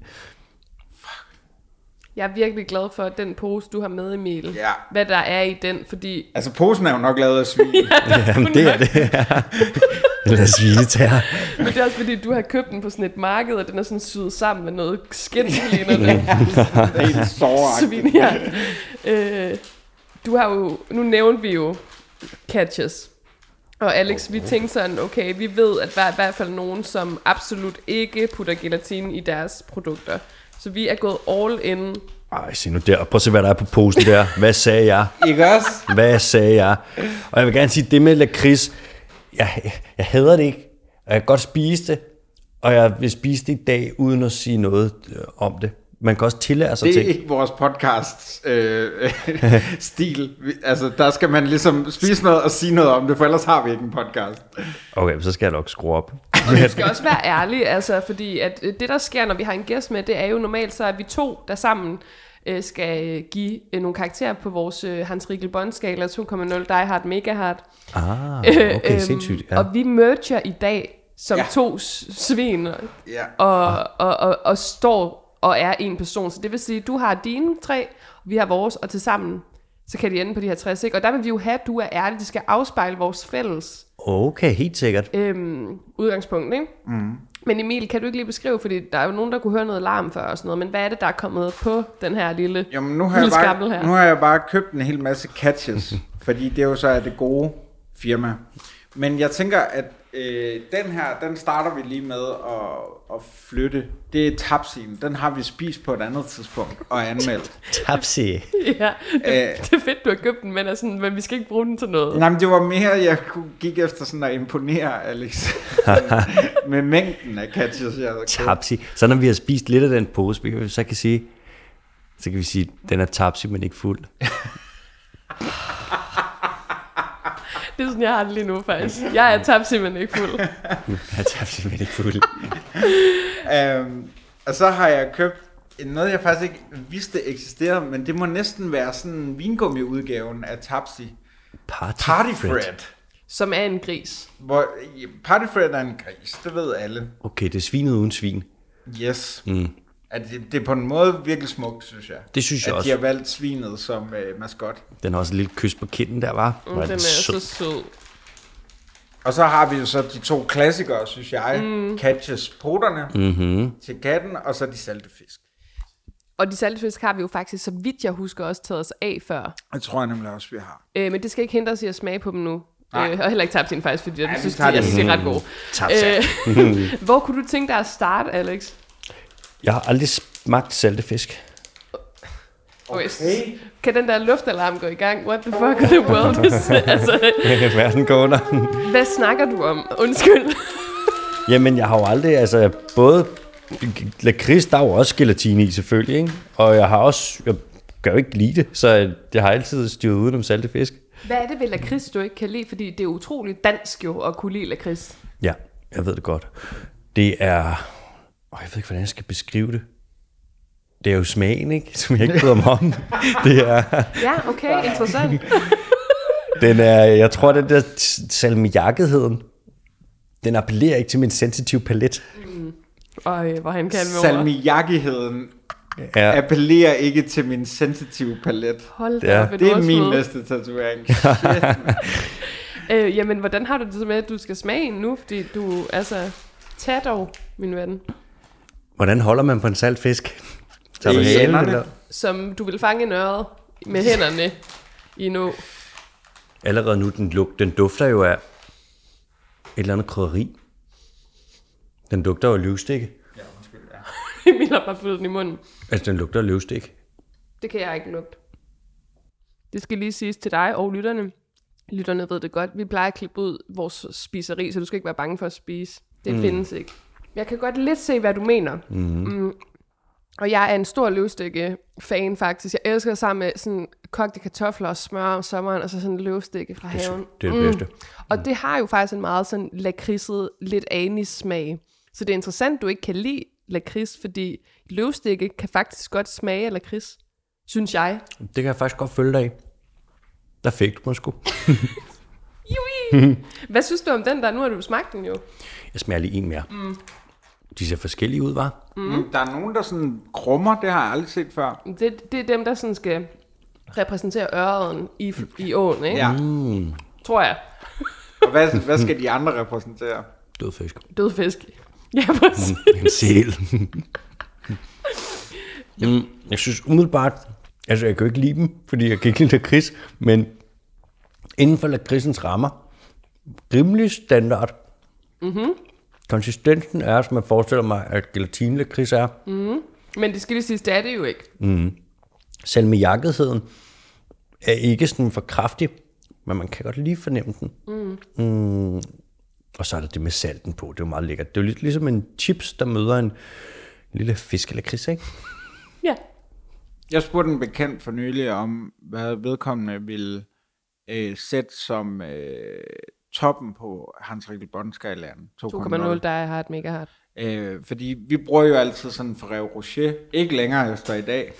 Speaker 1: Jeg er virkelig glad for den pose, du har med, Emil.
Speaker 2: Ja.
Speaker 1: Hvad der er i den, fordi...
Speaker 2: Altså, posen er jo nok lavet af svin.
Speaker 3: Jamen, det er det. Eller svinetær.
Speaker 1: Men det er også fordi, du har købt den på sådan et marked, og den er sådan syet sammen med noget skin, der ligner det.
Speaker 2: Det er helt såragtigt.
Speaker 1: Svin, ja. øh, du har jo... Nu nævnte vi jo catches. Og Alex, vi tænkte sådan, okay, vi ved, at der er i hvert fald nogen, som absolut ikke putter gelatine i deres produkter. Så vi er gået all in.
Speaker 3: Ej, se nu der. Prøv at se, hvad der er på posen der. Hvad sagde jeg?
Speaker 2: Ikke også?
Speaker 3: Hvad sagde jeg? Og jeg vil gerne sige, det med lakrids, jeg, jeg hader det ikke. Og jeg kan godt spise det, og jeg vil spise det i dag, uden at sige noget øh, om det. Man kan også tillære sig
Speaker 2: Det er
Speaker 3: ting.
Speaker 2: ikke vores podcast øh, stil. Vi- Altså, der skal man ligesom spise noget og sige noget om det, for ellers har vi ikke en podcast.
Speaker 3: Okay, så skal jeg nok skrue op.
Speaker 1: Du skal også være ærlig, altså, fordi at øh, det, der sker, når vi har en gæst med, det er jo normalt så, at vi to, der sammen øh, skal øh, give øh, nogle karakterer på vores øh, Hans Rikkel Bond-skala 2,0 Die Hard Mega Hard.
Speaker 3: Ah,
Speaker 1: Øh,
Speaker 3: okay,
Speaker 1: øhm,
Speaker 3: sindssygt. Ja.
Speaker 1: Og vi merger i dag som
Speaker 2: Ja.
Speaker 1: ja. to s- svin og,
Speaker 2: Ja.
Speaker 3: Ah.
Speaker 1: og, og, og, og står og er en person. Så det vil sige, du har dine tre, vi har vores, og til sammen så kan de ende på de her 60, ikke? Og der vil vi jo have, at du er ærlig. Det skal afspejle vores fælles
Speaker 3: Okay, helt sikkert.
Speaker 1: øhm, udgangspunkt, ikke? Mm. Men Emil, kan du ikke lige beskrive, fordi der er jo nogen, der kunne høre noget larm før og sådan noget, men hvad er det, der er kommet på den her lille,
Speaker 2: Jamen, nu har, jeg
Speaker 1: lille skammel
Speaker 2: bare,
Speaker 1: her?
Speaker 2: nu har jeg bare købt en hel masse catches, fordi det jo så er det gode firma. Men jeg tænker, at øh, den her, den starter vi lige med at, at flytte. Det er tapsien. Den har vi spist på et andet tidspunkt og anmeldt.
Speaker 3: Tapsi.
Speaker 1: ja, det,
Speaker 2: Øh.
Speaker 1: det, er fedt, du har købt den, men, er sådan, men vi skal ikke bruge den til noget.
Speaker 2: Nej, men det var mere, jeg kunne- gik efter sådan at imponere Alex med mængden af catches, jeg havde købt.
Speaker 3: Tapsi. Så når vi har spist lidt af den pose, vi kan- så kan, sige, så kan vi sige, den er tapsi, men ikke fuld.
Speaker 1: Det er sådan, jeg har det lige nu faktisk. Jeg er tabt simpelthen ikke fuld.
Speaker 3: Den er tapsi, men ikke fuld.
Speaker 2: Øhm, og så har jeg købt noget, jeg faktisk ikke vidste eksisterede, men det må næsten være sådan en vingummi-udgaven af Tapsi.
Speaker 3: Party,
Speaker 2: Party
Speaker 3: Fred.
Speaker 2: Fred.
Speaker 1: Som er en gris.
Speaker 2: Hvor, Party Fred er en gris, det ved alle.
Speaker 3: Okay, det er svinet uden svin.
Speaker 2: Yes. Mm. At det, det er på en måde virkelig smukt, synes jeg.
Speaker 3: Det synes jeg
Speaker 2: at
Speaker 3: også.
Speaker 2: de har valgt svinet som øh, maskot.
Speaker 3: Den har også en lille kys på kinden der, var.
Speaker 1: Mm, den er så sød.
Speaker 2: Og så har vi jo så de to klassikere, synes jeg. Mm. Catches poterne mm-hmm. til katten, og så de salte fisk.
Speaker 1: Og de saltfisk har vi jo faktisk, så vidt jeg husker, også taget os af før.
Speaker 2: Det tror jeg nemlig også, vi har.
Speaker 1: Øh, men det skal ikke hindre os i at smage på dem nu.
Speaker 2: Nej.
Speaker 1: Øh, og heller ikke tabsin faktisk, fordi jeg
Speaker 2: vi
Speaker 1: synes, de,
Speaker 2: tager
Speaker 1: jeg
Speaker 2: det.
Speaker 1: synes, de er ret gode. Øh, hvor kunne du tænke dig at starte, Alex?
Speaker 3: Jeg har aldrig smagt saltefisk.
Speaker 1: Okay. okay. Kan den der luftalarm gå i gang? What the fuck in the world is altså,
Speaker 3: Verden går under.
Speaker 1: hvad snakker du om? Undskyld.
Speaker 3: Jamen, jeg har jo aldrig, altså både lakrids, der er jo også gelatine i selvfølgelig, ikke? Og jeg har også, jeg kan jo ikke lide det, så jeg har altid styret udenom saltefisk.
Speaker 1: Hvad er det ved lakrids, du ikke kan lide? Fordi det er utroligt dansk jo at kunne lide lakrids.
Speaker 3: Ja, jeg ved det godt. Det er, åh, jeg ved ikke, hvordan jeg skal beskrive det. det er jo smagen, ikke? Som jeg ikke bryder mig om. Det er,
Speaker 1: Ja, okay, interessant.
Speaker 3: den er, jeg tror, den der t- salmiakketheden, den appellerer ikke til min sensitive palet.
Speaker 1: Og øh, hvor han kan med ord.
Speaker 2: Salmiakigheden
Speaker 3: Ja,
Speaker 2: appellerer ikke til min sensitive palet.
Speaker 1: Hold da
Speaker 3: Ja.
Speaker 1: op, et
Speaker 2: Det er
Speaker 1: ordsmed.
Speaker 2: min næste tatovering. Shit, mand.
Speaker 1: Øh, jamen, hvordan har du det så med, at du skal smage en nu? Fordi du, altså, tag dog, min ven,
Speaker 3: hvordan holder man på en salt fisk? Tager du
Speaker 2: I
Speaker 3: hælen,
Speaker 2: hænderne.
Speaker 3: eller?
Speaker 1: som du vil fange en øret med hænderne i nu.
Speaker 3: Allerede nu, den, luk, den dufter jo af et eller andet krydderi. Den lugter jo af løvstikke.
Speaker 1: Emil har bare puttet den i munden.
Speaker 3: Altså, den lugter af løvstikke.
Speaker 1: Det kan jeg ikke lugte. Det skal lige siges til dig og lytterne. Lytterne ved det godt. Vi plejer at klippe ud vores spiseri, så du skal ikke være bange for at spise. Det mm. findes ikke. Jeg kan godt lidt se, hvad du mener. Mm. Mm.
Speaker 3: Mm-hmm.
Speaker 1: Og jeg er en stor løvstikke-fan, faktisk. Jeg elsker sammen med sådan kogte kartofler og smør om sommeren, og så sådan løvstikke fra haven. Mm.
Speaker 3: Det er det bedste.
Speaker 1: Og det har jo faktisk en meget sådan lakridset, lidt anis smag. Så det er interessant, du ikke kan lide lakrids, fordi løvstikke kan faktisk godt smage af lakrids, synes jeg.
Speaker 3: Det kan jeg faktisk godt følge dig i. Der fik du mig sgu.
Speaker 1: Jui! Hvad synes du om den der? Nu har du smagt den jo.
Speaker 3: Jeg smager lige en mere. Mm. De ser forskellige ud, var.
Speaker 2: Mm, Der er nogen, der sådan krummer, det har jeg aldrig set før.
Speaker 1: Det, det er dem, der sådan skal repræsentere ørreden i, i åen, ikke?
Speaker 2: Ja.
Speaker 1: Tror jeg.
Speaker 2: Og hvad, hvad skal de andre repræsentere?
Speaker 3: Død fisk.
Speaker 1: Død fisk. Ja, præcis.
Speaker 3: En sæl. mm. Jeg synes umiddelbart, altså jeg kan jo ikke lide dem, fordi jeg kan ikke lide lakrids, men inden for lakridsens rammer, rimelig standard. Mm-hmm. Konsistensen er, som jeg forestiller mig, at gelatinelakrids er.
Speaker 1: Men det skal lige sige, det er det jo ikke.
Speaker 3: salmiakketheden er ikke sådan for kraftig, men man kan godt lige fornemme den. Mm. Mm. Og så er der det med salten på, det er jo meget lækkert. Det er jo lidt ligesom en chips, der møder en lille fisk eller kris, ikke?
Speaker 1: Ja.
Speaker 2: Jeg spurgte en bekendt for nylig om, hvad vedkommende ville øh, sætte som øh, toppen på Hans Rikkel Bondskalaen
Speaker 1: 2,0, der er hard, mega hard.
Speaker 2: Øh, fordi vi bruger jo altid sådan Ferrero Rocher, ikke længere efter i dag,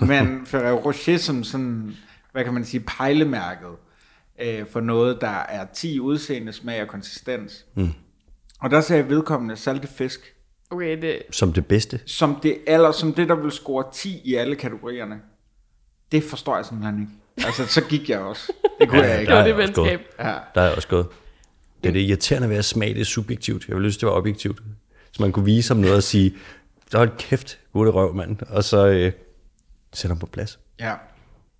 Speaker 2: men Ferrero Rocher som sådan, hvad kan man sige, pejlemærket øh, for noget, der er 10 udseende, smag og konsistens. Mm. Og der sagde vedkommende salte fisk
Speaker 1: Okay, det,
Speaker 3: Som det bedste.
Speaker 2: som det, aller, som det, der vil score 10 i alle kategorierne. Det forstår jeg simpelthen ikke. Altså, så gik jeg også. Det kunne jeg ikke.
Speaker 1: det var
Speaker 3: er
Speaker 1: det
Speaker 3: jeg også
Speaker 1: venskab.
Speaker 3: gået. Der er jeg også gået. Det er det irriterende ved at smage det er subjektivt. Jeg ville lyst til, det var objektivt. Så man kunne vise ham noget og sige, hold kæft, hvor det røv, mand. Og så øh, sætte ham på plads.
Speaker 2: Ja.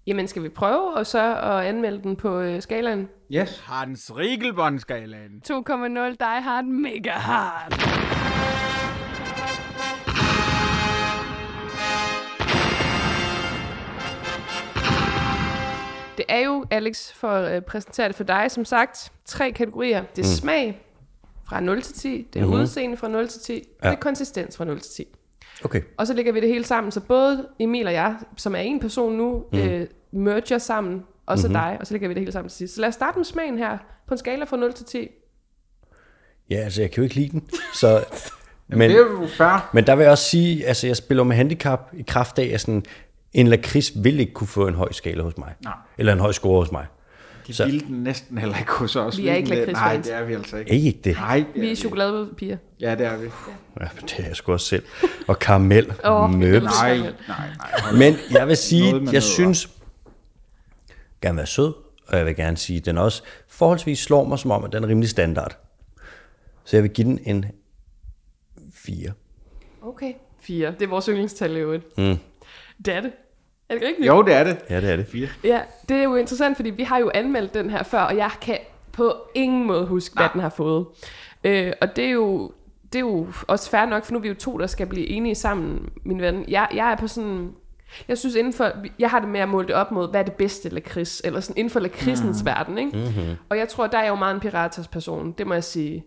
Speaker 1: Jamen, skal vi prøve og så at anmelde den på øh, skalaen?
Speaker 2: Yes. Hans Riegelbåndskalaen.
Speaker 1: 2,0 Die Hard Mega Hard. Det er jo, Alex, for at øh, præsentere det for dig, som sagt, tre kategorier. Det er mm. smag fra 0 til 10, det er mm-hmm. udseende fra 0 til 10, ja. det er konsistens fra 0 til 10.
Speaker 3: Okay.
Speaker 1: Og så lægger vi det hele sammen, så både Emil og jeg, som er en person nu, mm. øh, merger sammen, og så mm-hmm. dig, og så lægger vi det hele sammen til sidst. Så lad os starte med smagen her, på en skala fra 0 til 10.
Speaker 3: Ja, altså jeg kan jo ikke lide den. Så, men,
Speaker 2: Det er jo fair.
Speaker 3: Men der vil jeg også sige, altså jeg spiller med handicap i kraft af, at sådan, en lakrids vil ikke kunne få en høj skala hos mig.
Speaker 2: Nej.
Speaker 3: Eller en høj score hos mig.
Speaker 2: De
Speaker 3: Så-
Speaker 2: ville den næsten heller ikke hos os.
Speaker 1: Vi er ikke
Speaker 2: ville den det? Nej,
Speaker 1: lakridsfans.
Speaker 2: det er vi altså ikke.
Speaker 3: Er I ikke det?
Speaker 2: Nej, det er
Speaker 1: Vi er
Speaker 2: ikke.
Speaker 1: chokoladepiger.
Speaker 2: Ja, det er vi.
Speaker 3: Ja, men det er jeg sgu også selv. Og karamel.
Speaker 1: Åh,
Speaker 3: Møp.
Speaker 1: det er lidt-
Speaker 2: Nej, nej, nej. hold
Speaker 3: Men jeg vil sige,
Speaker 2: Noget
Speaker 3: jeg
Speaker 2: med nødder.
Speaker 3: synes, gerne være sød, og jeg vil gerne sige, den også forholdsvis slår mig som om, at den er rimelig standard. Så jeg vil give den en 4.
Speaker 1: Okay. 4. Det er vores yndlingstal i øvrigt. Mm. Det er det. Er det rigtigt?
Speaker 2: op. Jo, det er det.
Speaker 3: Ja, det er det.
Speaker 1: Ja, det er jo interessant, fordi vi har jo anmeldt den her før, og jeg kan på ingen måde huske, hvad den har fået. Øh, og det er jo det er jo også fair nok, for nu er vi jo to, der skal blive enige sammen, min ven. Jeg, jeg er på sådan... Jeg synes inden for... Jeg har det med at måle det op mod, hvad er det bedste lakrids, eller sådan inden for lakridsens mm. verden, ikke? Mm-hmm. Og jeg tror, der er jeg jo meget en piratas person, det må jeg sige.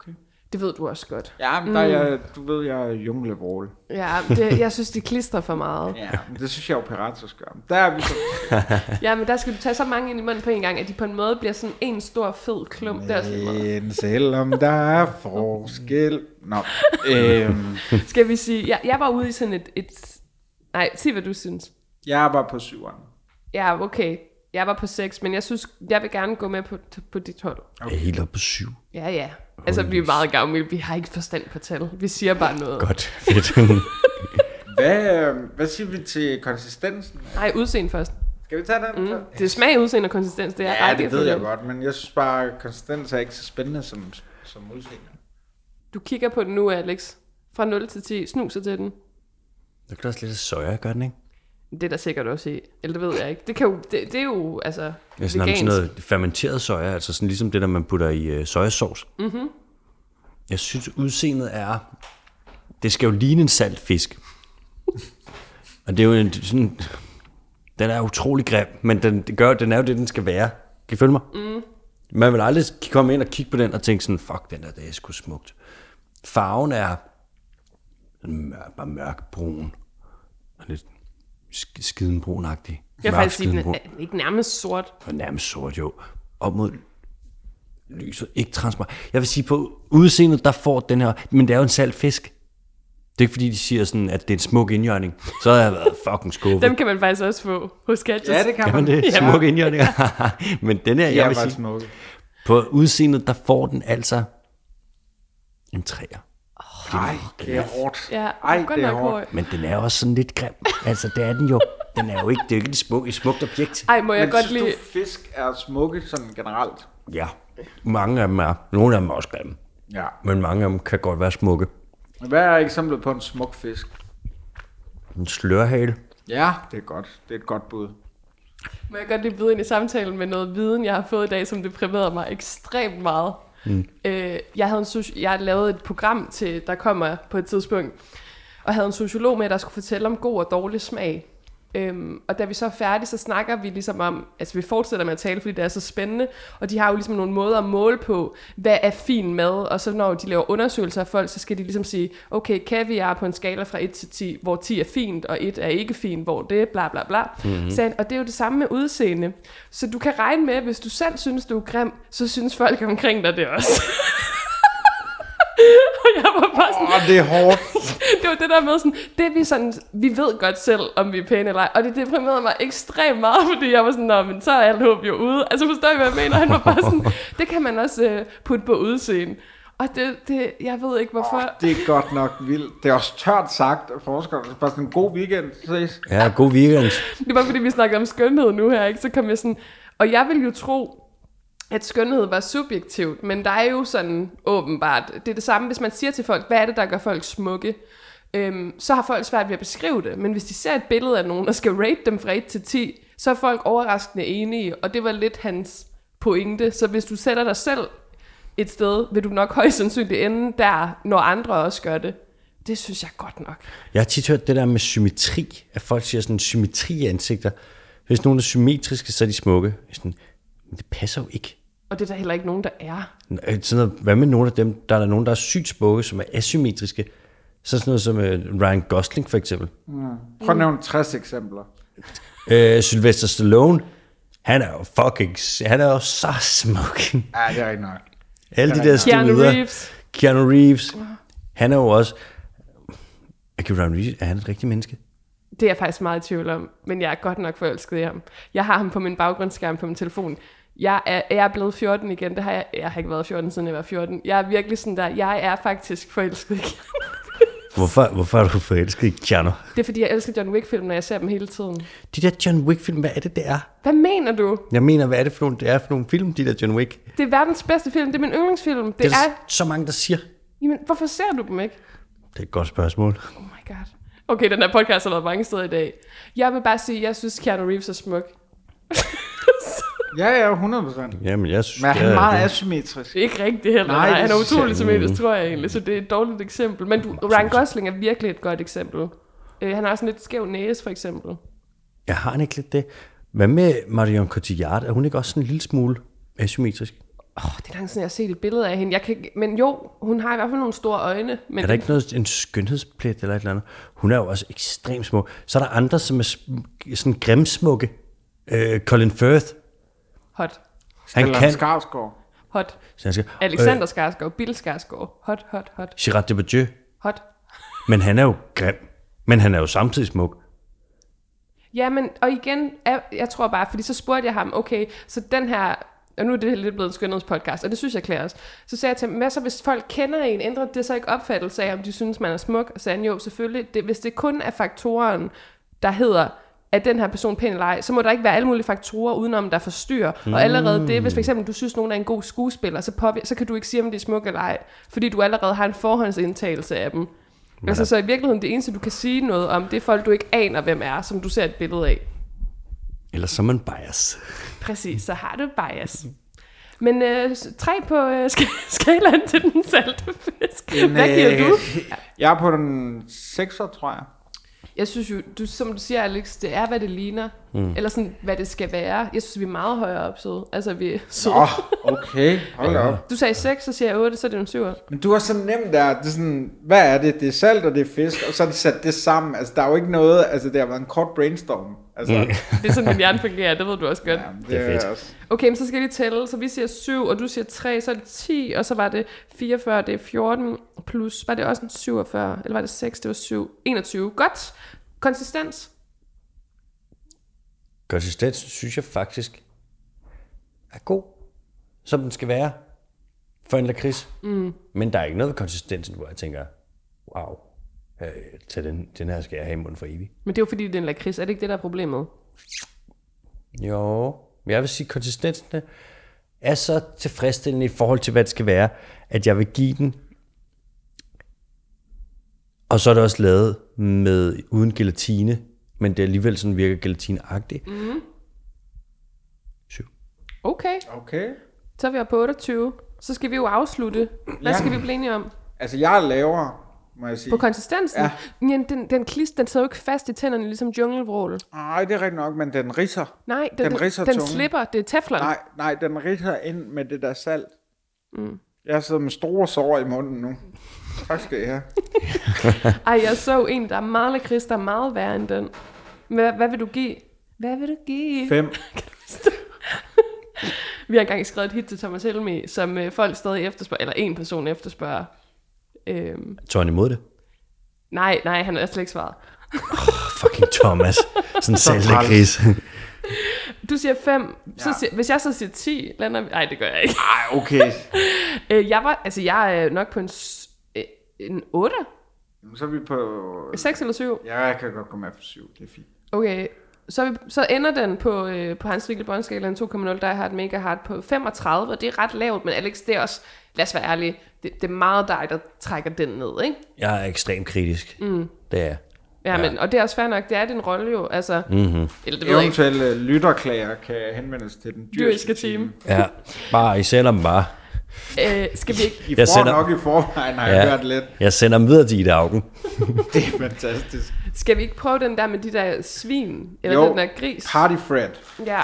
Speaker 1: Okay. Det ved du også godt.
Speaker 2: Ja, men der
Speaker 1: Mm.
Speaker 2: er jeg, du ved, jeg er junglevrål.
Speaker 1: Ja, det, jeg synes, det klistrer for meget.
Speaker 2: Ja, men det synes jeg jo, pirater skal gøre. Der er vi så...
Speaker 1: Ja, men der skal du tage så mange ind i munden på en gang, at de på en måde bliver sådan en stor, fed klump. Det er også lidt meget.
Speaker 2: Men selvom der er forskel... Nå, øhm,
Speaker 1: Skal vi sige, jeg, jeg var ude i sådan et, et Nej, sig hvad du synes.
Speaker 2: Jeg var på syveren.
Speaker 1: Ja, okay. Jeg var på 6, men jeg synes, jeg vil gerne gå med på, på dit hold.
Speaker 3: Jeg er helt op på syv.
Speaker 1: Ja, ja. Altså, vi er meget gamle. Vi har ikke forstand på tal. Vi siger bare noget.
Speaker 3: Godt, fedt.
Speaker 2: Hvad, øhm, hvad siger vi til konsistensen?
Speaker 1: Nej, udseende først.
Speaker 2: Skal vi tage den? Mm.
Speaker 1: Det er smag, udseende og konsistens. Det er
Speaker 2: Ja, det ved
Speaker 1: rækkefølgen.
Speaker 2: jeg godt, men jeg synes bare, at konsistens er ikke så spændende som, som udseende.
Speaker 1: Du kigger på den nu, Alex. Fra 0 til 10. Snuser til den.
Speaker 3: Det kan også lidt af soja, gør den, ikke?
Speaker 1: Det er der sikkert også i. Eller det ved jeg ikke. Det, kan jo, det, det er jo, altså,
Speaker 3: Ja, sådan, om sådan noget fermenteret soja, altså sådan ligesom det, der man putter i øh, sojasauce. Mm-hmm. Jeg synes, udseendet er... Det skal jo ligne en salt fisk. og det er jo en, sådan... Den er utrolig grim, men den, det gør, den er jo det, den skal være. Kan I følge mig? Mm. Man vil aldrig k- komme ind og kigge på den og tænke sådan, fuck, den der, det er sgu smukt. Farven er sådan mørk, bare mørkbrun. Og lidt sk- skidenbrun-agtig.
Speaker 1: Jeg vil
Speaker 3: Mørk
Speaker 1: faktisk sige, den
Speaker 3: skidenbrun
Speaker 1: er er ikke nærmest sort.
Speaker 3: og nærmest sort jo, op mod lyset, ikke transparent. Jeg vil sige, på udseendet, der får den her, men det er jo en salt fisk. Det er ikke fordi, de siger sådan, at det er en smuk indjørning. Så har jeg været fucking skuffet.
Speaker 1: Dem kan man faktisk også få hos Gadgets.
Speaker 2: Ja, det kan
Speaker 3: Kan man
Speaker 2: man.
Speaker 3: det?
Speaker 1: Ja.
Speaker 3: Smukke indjørninger. men den her,
Speaker 2: Jeg
Speaker 3: jeg vil
Speaker 2: var
Speaker 3: sige,
Speaker 2: smukke.
Speaker 3: på udseendet, der får den altså en træer.
Speaker 2: Ej, det er hårdt.
Speaker 1: Ja,
Speaker 2: Ej,
Speaker 1: godt
Speaker 2: det er
Speaker 1: nok
Speaker 2: hårdt.
Speaker 1: høj.
Speaker 3: Men den er også sådan lidt grim. Altså, det er den jo. Den er jo ikke, det er jo ikke et, smuk, et smukt objekt.
Speaker 1: Ej, må jeg
Speaker 2: Men
Speaker 1: godt
Speaker 2: synes
Speaker 1: lige...
Speaker 2: du, fisk er smukke sådan generelt?
Speaker 3: Ja, mange af dem er. Nogle af dem er også grimme.
Speaker 2: Ja.
Speaker 3: Men mange af dem kan godt være smukke.
Speaker 2: Hvad er eksemplet på en smuk fisk?
Speaker 3: En slørhale.
Speaker 2: Ja, det er godt. Det er et godt bud.
Speaker 1: Må jeg godt lige byde ind i samtalen med noget viden, jeg har fået i dag, som deprimerede mig ekstremt meget. Mm. Øh, jeg, havde en soci- jeg lavede et program, til, der kommer på et tidspunkt, og havde en sociolog med, der skulle fortælle om god og dårlig smag. Øhm, og da vi så er færdige, så snakker vi ligesom om, altså vi fortsætter med at tale, fordi det er så spændende, og de har jo ligesom nogle måder at måle på, hvad er fin mad, og så når de laver undersøgelser af folk, så skal de ligesom sige, okay, kaviar på en skala fra 1 til 10, hvor 10 er fint, og 1 er ikke fint, hvor det er bla bla bla.
Speaker 2: Mhm.
Speaker 1: Mm-hmm. Så, og det er jo det samme med udseende. Så du kan regne med, at hvis du selv synes, du er grim, så synes folk omkring dig det også. og jeg var bare sådan,
Speaker 2: Åh, det er hårdt.
Speaker 1: det var det der med sådan, det er vi sådan, vi ved godt selv, om vi er pæne eller ej. Og det deprimerede mig ekstremt meget, fordi jeg var sådan, nå, men så er alt håb jo ude. Altså forstår I, hvad jeg mener? Han var bare sådan, det kan man også øh, putte på udseende. Og det, det, jeg ved ikke hvorfor.
Speaker 2: Åh, det er godt nok vildt. Det er også tørt sagt af forskerne. Det er bare sådan en god weekend. Ses.
Speaker 3: Ja, god weekend.
Speaker 1: Det var fordi, vi snakkede om skønhed nu her, ikke? Så kom jeg sådan... Og jeg ville jo tro, at skønhed var subjektivt, men der er jo sådan åbenbart... Det er det samme, hvis man siger til folk, hvad er det, der gør folk smukke? Øhm, så har folk svært ved at beskrive det, men hvis de ser et billede af nogen og skal rate dem fra 1 til 10, så er folk overraskende enige, og det var lidt hans pointe. Så hvis du sætter dig selv et sted, vil du nok højst sandsynligt ende der, når andre også gør det. Det synes jeg godt nok.
Speaker 3: Jeg har tit hørt det der med symmetri, at folk siger sådan symmetri i ansigter. Hvis nogen er symmetriske, så er de smukke. Jeg er Sådan, men det passer jo ikke.
Speaker 1: Og det er der heller ikke nogen, der er.
Speaker 3: Øh, Sådan noget, hvad med nogle af dem? Der er der nogen, der er sygt smukke, som er asymmetriske. Så sådan noget som øh, Ryan Gosling for eksempel.
Speaker 2: Prøv at nævne 60 eksempler.
Speaker 3: Øh, Sylvester Stallone, han er jo fucking, s- han er jo så smuk.
Speaker 2: Ja, det er rigtig nok.
Speaker 3: Alle de der
Speaker 1: Keanu
Speaker 3: steroider.
Speaker 1: Reeves.
Speaker 3: Keanu Reeves. Han er jo også, er Keanu Reeves, er han et rigtigt menneske?
Speaker 1: Det er jeg faktisk meget i tvivl om, men jeg er godt nok forelsket i ham. Jeg har ham på min baggrundsskærm på min telefon. Jeg er, jeg er blevet 14 igen. Det har jeg, jeg har ikke været 14, siden jeg var 14. Jeg er virkelig sådan der, jeg er faktisk forelsket igen.
Speaker 3: Hvorfor, hvorfor er du forelsket i Keanu?
Speaker 1: Det er fordi, jeg elsker John Wick-film, når jeg ser dem hele tiden.
Speaker 3: De der John Wick-film, hvad er det, det er?
Speaker 1: Hvad mener du?
Speaker 3: Jeg mener, hvad er det for nogle, det er for nogle film, de der John Wick? Det,
Speaker 1: Det er verdens bedste film. Det er min yndlingsfilm. Det,
Speaker 3: det er der
Speaker 1: er...
Speaker 3: s- så mange, der siger.
Speaker 1: Jamen, hvorfor ser du dem ikke?
Speaker 3: Det er et godt spørgsmål.
Speaker 1: Oh my god. Okay, den her podcast har været mange steder i dag. Jeg vil bare sige, at jeg synes, Keanu Reeves er smuk.
Speaker 2: Ja, ja, 100 procent.
Speaker 3: Jamen, jeg synes,
Speaker 2: Men er
Speaker 3: det
Speaker 2: han
Speaker 3: er-
Speaker 2: meget asymmetrisk?
Speaker 1: Det er ikke rigtigt heller.
Speaker 2: Nej,
Speaker 1: Nej,
Speaker 2: det
Speaker 1: han er
Speaker 2: synes jeg
Speaker 1: utrolig symmetrisk, tror jeg egentlig. Så det er et dårligt eksempel. Men du, Ryan Gosling er virkelig et godt eksempel. Øh, han har også en lidt skæv næse, for eksempel.
Speaker 3: Jeg har han ikke lidt det. Hvad med Marion Cotillard? Er hun ikke også sådan en lille smule asymmetrisk?
Speaker 1: Åh, det er langt siden, jeg har set et billede af hende. Jeg kan, ikke- men jo, hun har i hvert fald nogle store øjne. Men
Speaker 3: Er der ikke noget, en skønhedsplet eller et eller andet? Hun er jo også ekstremt smuk. Så er der andre, som er sm- sådan grimsmukke. Øh, Colin Firth.
Speaker 1: Hot.
Speaker 3: Han
Speaker 2: Eller
Speaker 3: kan.
Speaker 2: Skarsgård?
Speaker 1: Hot.
Speaker 3: Så han øh, skal-
Speaker 2: Øh.
Speaker 1: Alexander Skarsgård, Bill Skarsgård. Hot, hot, hot,
Speaker 3: Øh, Gerard Depardieu.
Speaker 1: hot.
Speaker 3: Men han er jo grim. Men han er jo samtidig smuk.
Speaker 1: Jamen, og igen, jeg, jeg tror bare, fordi så spurgte jeg ham, okay, så den her, og nu er det lidt blevet en skønhedspodcast, og det synes jeg klæder os. Så sagde jeg til ham, hvad så hvis folk kender en, ændrer det så ikke opfattelse af, om de synes, man er smuk? Og sagde han, jo, selvfølgelig. Det, hvis det kun er faktoren, der hedder, at den her person pæn eller ej, så må der ikke være alle mulige faktorer udenom, der forstyrrer. Mm. Og allerede det, hvis for eksempel du synes, nogen er en god skuespiller, så, påvir- så kan du ikke sige, om de er smuk eller ej, fordi du allerede har en forhåndsindtagelse af dem. Men altså, så i virkeligheden, det eneste, du kan sige noget om, det er folk, du ikke aner, hvem er, som du ser et billede af.
Speaker 3: Ellers så er man bias.
Speaker 1: Præcis, så har du bias. Men øh, tre på øh, sk- skalaen til den salte fisk. Hvad
Speaker 2: øh,
Speaker 1: giver du?
Speaker 2: Jeg er på den 6'er, tror jeg.
Speaker 1: Jeg synes jo, du, som du siger, Alex, det er, hvad det ligner. Mm. Eller sådan, hvad det skal være. Jeg synes, vi er meget højere op, søde. Altså, vi er søde.
Speaker 2: Åh, oh, okay. Hold da op.
Speaker 1: Du sagde 6, så siger jeg 8, så er det en 7.
Speaker 2: Men du er så nem der, det er sådan, hvad er det? Det er salt og det er fisk, og så er det sat det sammen. Altså, der er jo ikke noget, altså det har været en kort brainstorm. Altså, mm.
Speaker 1: Det er sådan, min hjerne fungerer, det ved du også godt.
Speaker 2: det,
Speaker 3: Det er fedt.
Speaker 2: også-
Speaker 1: Okay, men så skal vi tælle. Så vi siger 7, og du siger 3, så er det 10, og så var det 44, det er 14, plus, var det også en 47, eller var det 6, det var 7, 21. Godt. Konsistens.
Speaker 3: Konsistens synes jeg faktisk er god, som den skal være for en lakrids. Mm. Men der er ikke noget ved konsistensen, hvor jeg tænker, wow, øh, tag den, den her skal jeg have i munden for evigt.
Speaker 1: Men det er jo fordi, det er en lakrids. Er det ikke det, der er problemet?
Speaker 3: Jo, men jeg vil sige, at konsistensen er så tilfredsstillende i forhold til, hvad det skal være, at jeg vil give den. Og så er det også lavet med uden gelatine, men det alligevel sådan virker gelatineagtigt. Mm. Syv.
Speaker 1: Okay,
Speaker 2: Okay.
Speaker 1: så er vi oppe på 28. Så skal vi jo afslutte. Hvad
Speaker 2: Ja.
Speaker 1: skal vi blive enige om?
Speaker 2: Altså, jeg er lavere, må jeg sige.
Speaker 1: På konsistensen?
Speaker 2: Ja.
Speaker 1: Men den, den klist, den sidder jo ikke fast i tænderne, ligesom junglevrål.
Speaker 2: Nej, det er rigtigt nok, men den riser.
Speaker 1: Nej, den,
Speaker 2: Den
Speaker 1: den,
Speaker 2: ridser
Speaker 1: den, den
Speaker 2: tungen.
Speaker 1: slipper. Det er teflon.
Speaker 2: Nej, nej, den riser ind med det der salt. Mm. Jeg sidder med store sår i munden nu. Tak skal I have.
Speaker 1: Ej, jeg så en, der er meget lakrids, der er meget værre end den. Hvad, hvad vil du give? Hvad vil du give?
Speaker 2: Fem.
Speaker 1: Vi har engang skrevet et hit til Thomas Helmi, som øh, folk stadig efterspørger, eller en person efterspørger. Øhm,
Speaker 3: Tog han imod det?
Speaker 1: nej, nej, han har slet ikke svaret.
Speaker 3: Fucking Thomas. Sådan en
Speaker 2: træls.
Speaker 3: salglægris.
Speaker 1: Du siger 5, ja.
Speaker 2: Ja.
Speaker 1: hvis jeg så siger 10, lander vi... Nej, det gør jeg ikke.
Speaker 2: Ej, okay.
Speaker 1: Øh, jeg, var, altså, jeg er nok på en, s- øh, en 8,
Speaker 2: Jamen, Så er vi på...
Speaker 1: 6 eller 7.
Speaker 2: Ja, jeg kan godt komme af på syv. Det er fint.
Speaker 1: Okay, så, er vi, så ender den på, øh, på Hans Mikkel Båndskalaen 2,0, der har et mega hard på 35, og det er ret lavt, men Alex, det er også, lad os være ærlige, det, det er meget dig, der trækker den ned, ikke?
Speaker 3: Jeg er ekstremt kritisk. Mm. Det er jeg.
Speaker 1: Ja, ja. Men, og det er også fair nok, det er din rolle jo, altså,
Speaker 2: Mhm.
Speaker 1: mm-hmm. eller det ved jeg ikke,
Speaker 2: Eventuelle lytterklager kan henvendes til den
Speaker 1: dyriske
Speaker 2: dyriske
Speaker 1: team.
Speaker 2: time.
Speaker 3: Ja, bare I sender dem bare.
Speaker 1: Øh, skal vi ikke,
Speaker 2: I
Speaker 3: Jeg
Speaker 2: får
Speaker 3: sender-
Speaker 2: nok i forvejen, har jeg
Speaker 3: Ja.
Speaker 2: hørt lidt.
Speaker 3: Jeg sender dem videre til Ida Augen.
Speaker 2: Det er fantastisk.
Speaker 1: skal vi ikke prøve den der med de der svin, eller
Speaker 2: Jo.
Speaker 1: den der gris?
Speaker 2: Party Fred.
Speaker 1: Ja.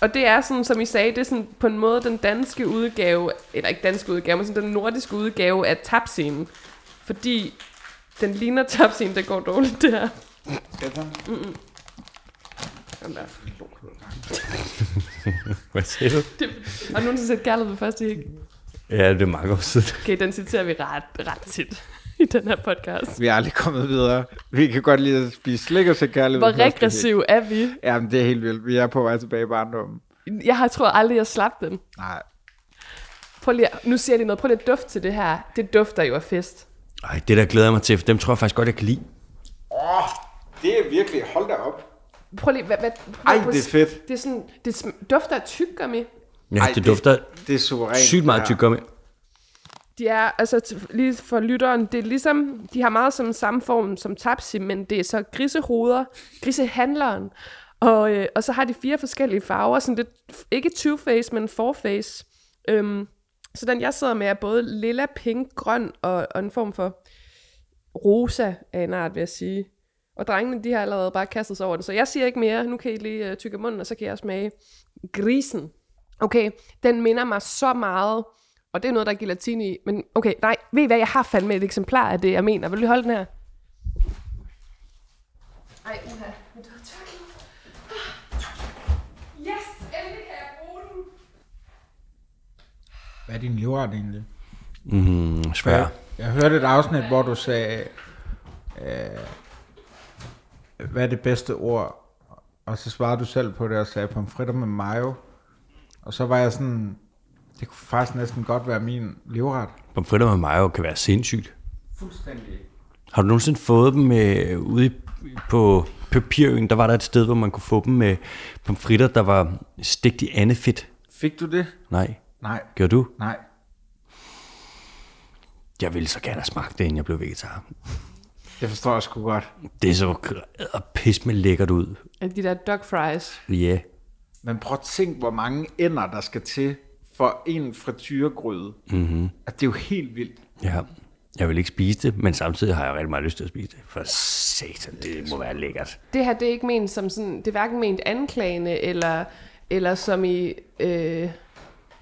Speaker 1: Og det er sådan, som I sagde, det er sådan på en måde den danske udgave, eller ikke danske udgave, men sådan den nordiske udgave af tapscenen. Fordi den ligner tapscenen, der går dårligt der.
Speaker 2: Skal jeg tage den?
Speaker 3: Hvad siger du?
Speaker 1: Det, og nu har set kærlighed ved første hik.
Speaker 3: Ja, det er mange år siden.
Speaker 1: Okay, den citerer vi ret, ret tit i den her podcast.
Speaker 2: Vi er aldrig kommet videre. Vi kan godt lide at spise slik og se kærlighed. ved
Speaker 1: Hvor
Speaker 2: første blik.
Speaker 1: regressiv er vi?
Speaker 2: Jamen, det er helt vildt. Vi er på vej tilbage i barndommen.
Speaker 1: Jeg har troet aldrig, jeg slap den.
Speaker 2: Nej.
Speaker 1: Prøv lige, at- nu siger jeg lige noget. Prøv lige at dufte til det her. Det dufter jo af fest.
Speaker 3: Ej, det der glæder jeg mig til, for dem tror jeg faktisk godt, jeg kan lide.
Speaker 2: Åh, oh, det er virkelig... Hold da op.
Speaker 3: Altså,
Speaker 1: Prøv lige, hvad, hvad,
Speaker 2: Ej, det er fedt.
Speaker 1: Det, er sådan, det sm- dufter af tyggegummi.
Speaker 3: Ja,
Speaker 2: Ej,
Speaker 3: Ej, det, det dufter
Speaker 2: Det er suverænt.
Speaker 3: sygt meget
Speaker 2: det her.
Speaker 3: tyggegummi.
Speaker 1: De er, altså t- lige for lytteren, det er ligesom, de har meget som samme form som tapsi, men det er så grisehoveder, grisehandleren, og, øh, og så har de fire forskellige farver, sådan lidt, ikke two-face, men four-face. Øhm, så den jeg sidder med er både lilla, pink, grøn og, og en form for rosa af en art, vil jeg sige. Og drengene, de har allerede bare kastet sig over det, så jeg siger ikke mere. Nu kan I lige øh, tykke munden, og så kan jeg smage grisen. Okay, den minder mig så meget, og det er noget, der er gelatine i, men okay, nej, ved I hvad, jeg har fandme et eksemplar af det, jeg mener. Vil du holde den her? Ej, uha, mit tørklæde. Yes, endelig kan jeg bruge den.
Speaker 2: Hvad er din livret egentlig?
Speaker 3: Mm, svær.
Speaker 2: Jeg hørte et afsnit, hvor du sagde... Øh, hvad er det bedste ord? Og så svarede du selv på det og sagde pomfritter med mayo. Og så var jeg sådan, det kunne faktisk næsten godt være min livret.
Speaker 3: Pomfritter med mayo kan være sindssygt.
Speaker 2: Fuldstændig.
Speaker 3: Har du nogensinde fået dem øh, ude i- på Papirøen? Der var der et sted, hvor man kunne få dem med pomfritter, der var stegt i andefedt.
Speaker 2: Fik du det?
Speaker 3: Nej.
Speaker 2: Nej.
Speaker 3: Gjorde du?
Speaker 2: Nej.
Speaker 3: Jeg ville så gerne have smagt det, inden jeg blev vegetar.
Speaker 2: Det forstår jeg sgu godt.
Speaker 3: Det så og pis med lækkert ud.
Speaker 1: At de der dog fries.
Speaker 3: Ja. Yeah.
Speaker 2: Men prøv at tænk, hvor mange ender, der skal til for en frityregryde.
Speaker 3: Mhm.
Speaker 2: Mm-hmm. At det er jo helt vildt.
Speaker 3: Ja. Jeg vil ikke spise det, men samtidig har jeg rigtig meget lyst til at spise det. For satan, det må være lækkert.
Speaker 1: Det her, det er ikke ment som sådan, det er hverken ment anklagende, eller, eller som i, øh,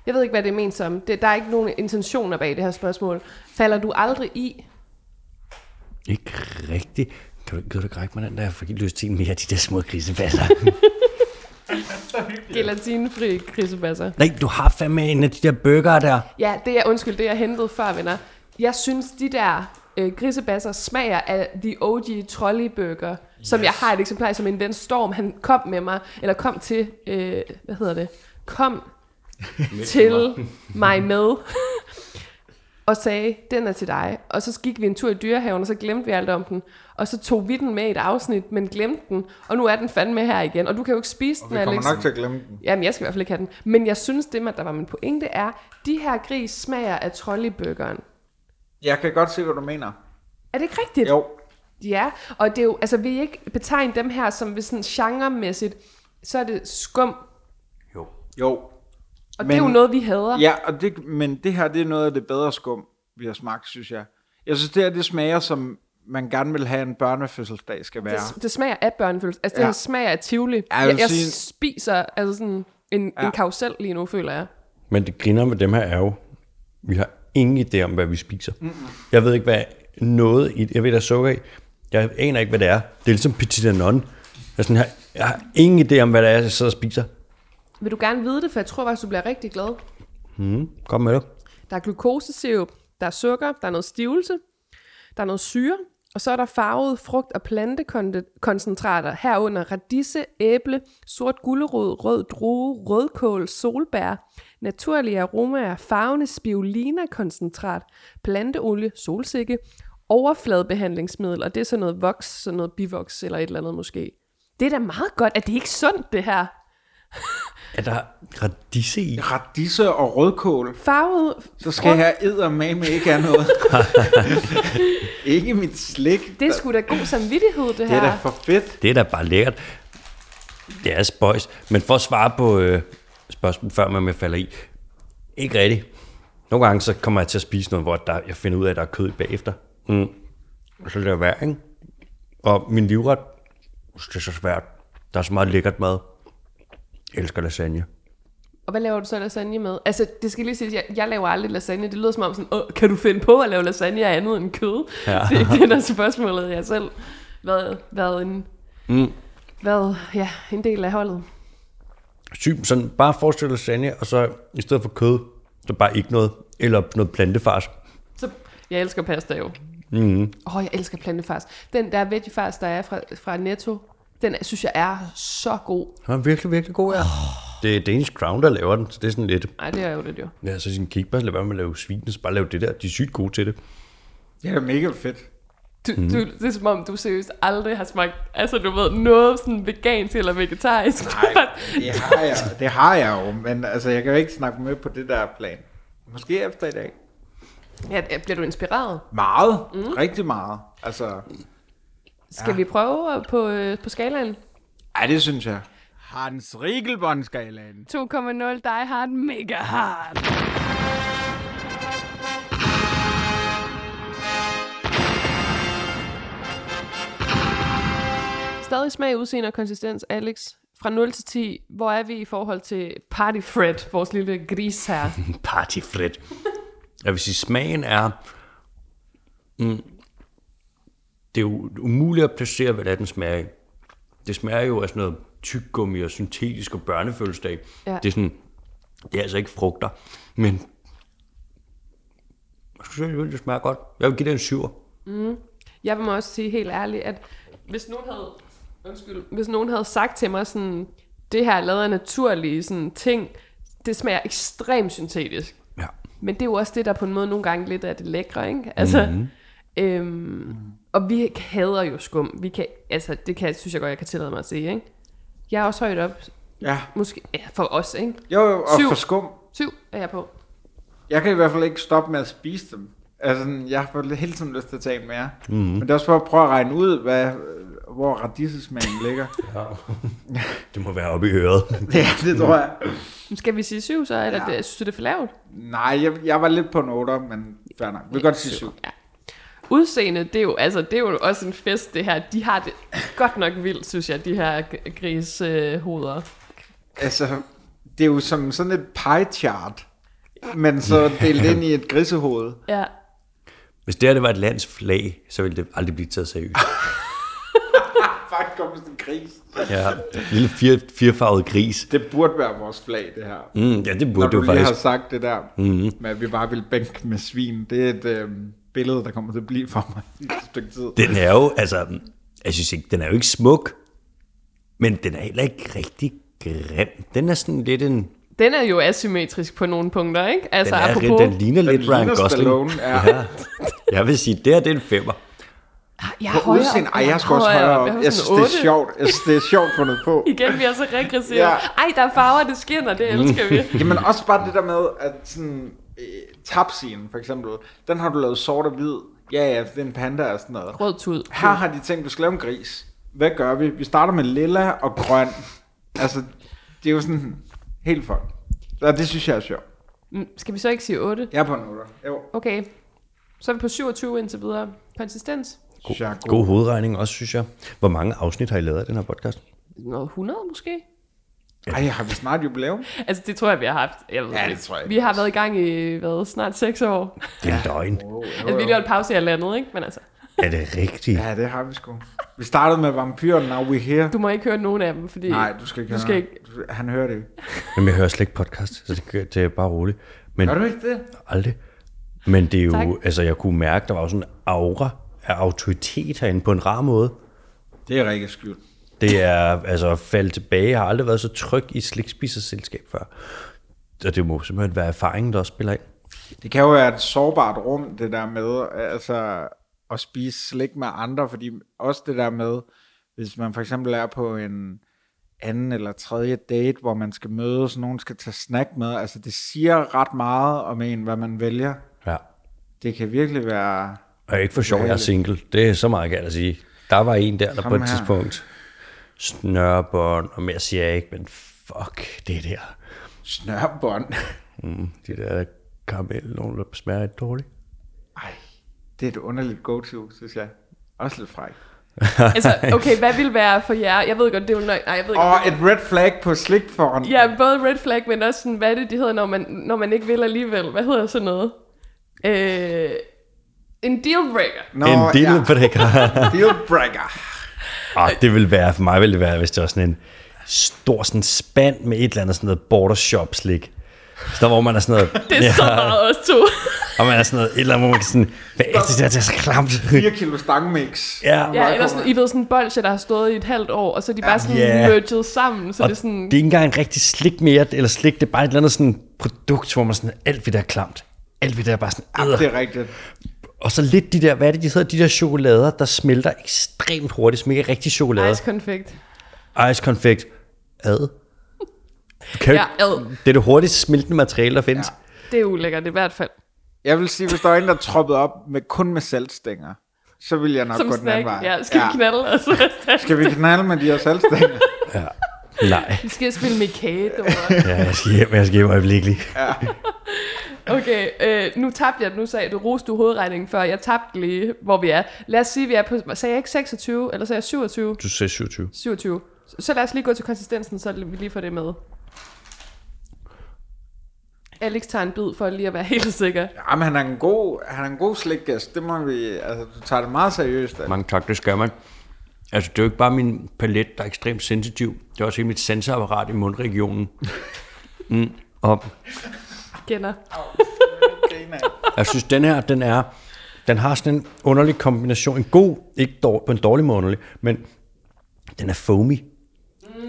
Speaker 1: jeg ved ikke, hvad det er ment som. Det, der er ikke nogen intentioner bag det her spørgsmål. Falder du aldrig i?
Speaker 3: Ikke rigtigt. Kan du, kan du ikke række mig den der? Jeg får helt lyst til mere af de der små grisebasser.
Speaker 1: Gelatinefri krisebasser.
Speaker 3: Nej, du har fandme en af de der burger der.
Speaker 1: Ja, det er, undskyld, det jeg hentede før, venner. Jeg synes, de der øh, grisebasser smager af de OG trolleybøger, yes. som jeg har et eksemplar af, som en ven Storm, han kom med mig, eller kom til, øh, hvad hedder det, kom til mig med, og sagde, den er til dig. Og så gik vi en tur i dyrehaven, og så glemte vi alt om den. Og så tog vi den med i et afsnit, men glemte den. Og nu er den fandme her igen, og du kan jo ikke spise
Speaker 2: Og vi
Speaker 1: den,
Speaker 2: kommer
Speaker 1: Alex.
Speaker 2: nok til at glemme den.
Speaker 1: Jamen, jeg skal i hvert fald ikke have den. Men jeg synes, det, man- der var min pointe, er, de her gris smager af trolleybøgeren.
Speaker 2: Jeg kan godt se, hvad du mener.
Speaker 1: Er det ikke rigtigt?
Speaker 2: Jo,
Speaker 1: Ja, og det er jo, altså, vil I ikke betegne dem her som hvis sådan genremæssigt, så er det skum, og
Speaker 3: Jo.
Speaker 2: jo.
Speaker 1: men, det er jo noget, vi hader.
Speaker 2: Ja, og det, men det her, det er noget af det bedre skum, vi har smagt, synes jeg. Jeg synes, det her, det smager, som man gerne vil have en børnefødselsdag skal være.
Speaker 1: Det, det smager af børnefødsel. Altså, det
Speaker 2: Ja.
Speaker 1: her smager af tivoli. Ja,
Speaker 2: jeg
Speaker 1: jeg,
Speaker 2: vil
Speaker 1: jeg, jeg
Speaker 2: sige-
Speaker 1: spiser altså sådan en, ja.
Speaker 2: Ja.
Speaker 1: en karusel lige nu, føler jeg.
Speaker 3: Men det griner med dem her er jo, vi har ingen idé om, hvad vi spiser. Mm-hmm. Jeg ved ikke, hvad noget i Jeg ved, der er sukker i. Jeg aner ikke, hvad det er. Det er ligesom petit anon. Jeg, er sådan, jeg, jeg har ingen idé om, hvad det er, jeg sidder og spiser.
Speaker 1: Vil du gerne vide det, for jeg tror faktisk, du bliver rigtig glad.
Speaker 3: Kom med det.
Speaker 1: Der er glukosesirup, der er sukker, der er noget stivelse, der er noget syre, og så er der farvede frugt- og plantekoncentrater, herunder radise, æble, sort gulerod, rød drue, rødkål, solbær, naturlige aromaer, farvende spirulina-koncentrat, planteolie, solsikke, overfladebehandlingsmiddel, og det er sådan noget voks, sådan noget bivoks eller et eller andet måske. Det er da meget godt, at det ikke er sundt, det her.
Speaker 3: Er der radise i?
Speaker 2: Radisse og rødkål.
Speaker 1: Farvede
Speaker 2: Så skal jeg æder med med ikke have noget. ikke mit slik.
Speaker 1: Det er sgu da god samvittighed, det
Speaker 2: Det
Speaker 1: her.
Speaker 2: er da for fedt.
Speaker 3: Det er da bare lækkert. Det er spøjs. Men for at svare på øh, spørgsmålet, før man falder i. Ikke rigtigt. Nogle gange så kommer jeg til at spise noget, hvor der, jeg finder ud af, at der er kød i bagefter. Mm. Og så lader jeg være, ikke? Og min livret, det er så svært. Der er så meget lækkert mad. Jeg elsker lasagne.
Speaker 1: Og hvad laver du så lasagne med? Altså, det skal lige sige, jeg, jeg laver aldrig lasagne. Det lyder som om sådan, Åh, kan du finde på at lave lasagne af andet end kød? Ja. Det er ikke det, der er spørgsmålet. Jeg har selv været, været en... Mm. Været, ja, en del af holdet.
Speaker 3: Syg, sådan bare forestil dig lasagne, og så i stedet for kød, så bare ikke noget. Eller noget plantefars.
Speaker 1: Så, jeg elsker pasta jo. Åh, mm. oh, jeg elsker plantefars. Den der veggiefars, der er fra, fra Netto, den synes jeg er så god.
Speaker 3: Han er virkelig, virkelig god, ja. Oh. Det er Danish Crown, der laver den, så det er sådan lidt...
Speaker 1: Nej, det er jo det jo.
Speaker 3: Ja, så sin kigge, bare lad være med at lave svin, så bare lave det der. De er sygt gode til det.
Speaker 2: Det er da mega fedt.
Speaker 1: Du, mm. du, det er som om, du seriøst aldrig har smagt, altså du ved, noget sådan vegansk eller vegetarisk.
Speaker 2: Det har jeg, det har jeg jo, men altså, jeg kan jo ikke snakke med på det der plan. Måske efter i dag.
Speaker 1: ja, bliver du inspireret?
Speaker 2: Meget. Mm. Rigtig meget. Altså,
Speaker 1: Skal ja. vi prøve øh, på, øh, på skalaen?
Speaker 2: ej, det synes jeg. Hans Riegelbåndskalaen.
Speaker 1: 2,0 Die Hard Mega Hard. Stadig smag, udseende og konsistens, Alex. Fra 0 til 10, hvor er vi i forhold til Party Fred, vores lille gris her?
Speaker 3: Partyfred. Jeg vil sige, smagen er... Mm, det er jo umuligt at placere, hvad det er, den smager af. Det smager jo af sådan noget tyggegummi og syntetisk og børnefødselsdag.
Speaker 1: Ja.
Speaker 3: Ja. Det er sådan... Det er altså ikke frugter, men... Jeg synes alligevel, det smager godt. Jeg vil give det en syver.
Speaker 1: Jeg vil må også sige helt ærligt, at hvis nogen havde undskyld, hvis nogen havde sagt til mig sådan, det her er lavet af naturlige sådan, ting, det smager ekstremt syntetisk.
Speaker 3: Ja.
Speaker 1: Men det er jo også det, der på en måde nogle gange lidt er det lækre, ikke? Altså,
Speaker 2: Mhm.
Speaker 1: mm-hmm. øhm, og vi hader jo skum. Vi kan, altså, det kan, synes jeg godt, jeg kan tillade mig at sige, ikke? Jeg er også højt op,
Speaker 2: Ja.
Speaker 1: måske ja, for os, ikke?
Speaker 2: Jo, jo, og
Speaker 1: Syv.
Speaker 2: for skum.
Speaker 1: Syv er jeg på.
Speaker 2: Jeg kan i hvert fald ikke stoppe med at spise dem. Altså, sådan, jeg har fået hele tiden lyst til at tage en mere.
Speaker 3: Mhm.
Speaker 2: Mm-hmm. Men det er også for at prøve at regne ud, hvad, hvor radisesmagen ligger.
Speaker 3: Det må være oppe i øret.
Speaker 2: ja, det tror jeg.
Speaker 1: Men Skal vi sige syv så, eller ja. det, synes du, det er for lavt?
Speaker 2: Nej, jeg, jeg var lidt på en 8, men fair nok. Vi kan godt sige 7.
Speaker 1: Ja. Udseende, det er, jo, altså, det er jo også en fest, det her. De har det godt nok vildt, synes jeg, de her g- grisehoveder.
Speaker 2: Altså, det er jo som sådan et pie chart, men så delt ind i et grisehoved.
Speaker 1: Ja.
Speaker 3: Hvis det her det var et lands flag, så ville det aldrig blive taget seriøst.
Speaker 2: Fuck, kom sådan en gris.
Speaker 3: Ja. Lille fire, firefarvet gris.
Speaker 2: Det burde være vores flag, det her.
Speaker 3: Mm, ja, det
Speaker 2: Når
Speaker 3: burde
Speaker 2: du
Speaker 3: det
Speaker 2: lige
Speaker 3: jo faktisk. Mm.
Speaker 2: har sagt det der, mm-hmm. med at vi bare vil bænke med svin, det er et øh, billede, der kommer til at blive for mig i et stykke tid.
Speaker 3: Den er jo, altså, jeg synes ikke, den er jo ikke smuk, men den er heller ikke rigtig grim. Den er sådan lidt en,
Speaker 1: Den er jo asymmetrisk på nogle punkter, ikke? Altså,
Speaker 3: den, er,
Speaker 1: apropos,
Speaker 3: lidt- den ligner lidt Ryan
Speaker 2: ligner
Speaker 3: Gosling.
Speaker 2: Stallone, ja.
Speaker 3: ja. Jeg vil sige, det her det er en femmer.
Speaker 1: jeg
Speaker 2: På udseende, ej, jeg skal også højere op. Jeg synes, det er sjovt. Jeg synes, det er sjovt fundet på.
Speaker 1: Igen, vi er så regressive.
Speaker 2: Ja.
Speaker 1: Ja. Ej, der er farver, det skinner, det elsker vi.
Speaker 2: Jamen også bare det der med, at sådan, øh, tapscenen for eksempel, den har du lavet sort og hvid. Ja, ja, det er en panda og sådan noget.
Speaker 1: Rød tud.
Speaker 2: Her har de tænkt, du skal lave en gris. Hvad gør vi? Vi starter med lilla og grøn. Altså, det er jo sådan helt fuck. Og det synes jeg er sjovt.
Speaker 1: Mm, Skal vi så ikke sige 8?
Speaker 2: Jeg er på en otter. Jo,
Speaker 1: Okay. Så er vi på 27 indtil videre. Konsistens?
Speaker 2: synes jeg er god.
Speaker 3: God hovedregning også, synes jeg. Hvor mange afsnit har I lavet af den her podcast?
Speaker 1: Noget 100 måske?
Speaker 2: Ej, har vi snart jubilæum?
Speaker 1: Altså, det tror jeg, vi har haft. Jeg ved
Speaker 2: Ja, det
Speaker 1: ikke.
Speaker 2: tror jeg
Speaker 1: Vi har været i gang i, hvad, snart 6 år.
Speaker 3: Det er løgn.
Speaker 1: Altså, vi lige holdt pause i landet, ikke? Men altså,
Speaker 3: Er det rigtigt?
Speaker 2: Ja, det har vi sgu. Vi startede med vampyren, now we're here.
Speaker 1: du må ikke høre nogen af dem, fordi...
Speaker 2: Nej, du skal ikke
Speaker 1: du
Speaker 2: høre
Speaker 1: skal
Speaker 2: noget. Du- Han hører det jo.
Speaker 3: Jamen, jeg hører slet ikke podcast, så det, gør- det er bare roligt. Men
Speaker 2: Gør du ikke det?
Speaker 3: aldrig. Men det er jo,
Speaker 1: Tak.
Speaker 3: altså jeg kunne mærke, der var jo sådan en aura af autoritet herinde på en rar måde.
Speaker 2: Det er rigtig skyld.
Speaker 3: Det er altså at falde tilbage. Jeg har aldrig været så tryg i et slikspiserselskab før. Og det må simpelthen være erfaringen, der også spiller ind.
Speaker 2: Det kan jo være et sårbart rum, det der med altså, at spise slik med andre, fordi også det der med, hvis man for eksempel er på en anden eller tredje date, hvor man skal mødes, nogen skal tage snack med, altså det siger ret meget om en, hvad man vælger.
Speaker 3: Ja.
Speaker 2: Det kan virkelig være...
Speaker 3: Og ikke for sjov, jeg er single. Det er så meget, kan jeg da sige. Der var en der, der på
Speaker 2: Kom
Speaker 3: et
Speaker 2: her.
Speaker 3: tidspunkt snørbånd, og mere siger jeg ikke, men fuck det der.
Speaker 2: Snørbånd.
Speaker 3: Mm, de der karamel, nogen der smager lidt dårligt.
Speaker 2: Ej, det er et underligt go-to, synes jeg. Også lidt fræk.
Speaker 1: Altså, okay, hvad vil være for jer? Jeg ved godt, det er jo nok... Nej, jeg ved
Speaker 2: Og
Speaker 1: godt.
Speaker 2: et red flag på slik foran.
Speaker 1: Ja, både red flag, men også sådan, hvad er det, de hedder, når man, når man ikke vil alligevel? Hvad hedder sådan noget? Øh, en dealbreaker.
Speaker 2: Nå,
Speaker 3: en del ja. på det,
Speaker 2: Dealbreaker.
Speaker 3: Ah, det vil være, for mig ville det være, hvis det var sådan en stor sådan spand med et eller andet sådan noget bordershop slik. Så der, hvor man er sådan noget...
Speaker 1: Det er ja. så meget os to.
Speaker 3: Og man er sådan noget, et eller andet, hvor man sådan... Hvad er det der, der er så klamt?
Speaker 2: 4 kilo stangmix.
Speaker 3: ja.
Speaker 1: ja, eller sådan, I ved, sådan en bolsje, der har stået i et halvt år, og så er de bare sådan
Speaker 3: Ja.
Speaker 1: yeah. merged sammen, så
Speaker 3: Og
Speaker 1: det er sådan...
Speaker 3: det er ikke engang en rigtig slik mere, eller slik, det er bare et eller andet sådan produkt, hvor man sådan, alt ved der er klamt. Alt ved der er bare sådan, æder.
Speaker 2: Det er rigtigt.
Speaker 3: Og så lidt de der, hvad er det, de hedder, de der chokolader, der smelter ekstremt hurtigt, som ikke er rigtig chokolade.
Speaker 1: Ice confect.
Speaker 3: Ice konfekt. Ad. Du Kan
Speaker 1: Ja,
Speaker 3: ja, ad.
Speaker 1: ad.
Speaker 3: Det er det hurtigst smeltende materiale, der findes. Ja.
Speaker 1: Det er ulækkert i hvert fald.
Speaker 2: Jeg vil sige, hvis der var en, der troppede op med, kun med saltstænger, så vil jeg nok
Speaker 1: Som
Speaker 2: gå den
Speaker 1: snack.
Speaker 2: anden vej.
Speaker 1: Ja, skal ja. vi knalde os?
Speaker 2: Skal vi knalde med de her saltstænger?
Speaker 3: Nej,
Speaker 1: vi skal spille Mikado.
Speaker 3: ja, jeg skal hjem, jeg skal hjem øjeblikkeligt.
Speaker 1: Okay, øh, nu tabte jeg, nu sagde du, roste du hovedregningen før, jeg tabte lige, hvor vi er. Lad os sige, vi er på, sagde jeg ikke 26, eller sagde jeg 27?
Speaker 3: Du sagde 27.
Speaker 1: 27. Så lad os lige gå til konsistensen, så vi lige får det med. Alex tager en bid for lige at være helt sikker.
Speaker 2: Jamen, han er en god, han er en god slikgæst. Det må vi... Altså, du tager det meget seriøst. Altså.
Speaker 3: Mange tak, det skal man. Altså, det er jo ikke bare min palet, der er ekstremt sensitiv. Det er også hele mit sensorapparat i mundregionen. Mm. Og
Speaker 1: Kender.
Speaker 3: jeg synes, den her, den er... Den har sådan en underlig kombination. En god, ikke dår, på en dårlig måde underlig, men Den er foamy.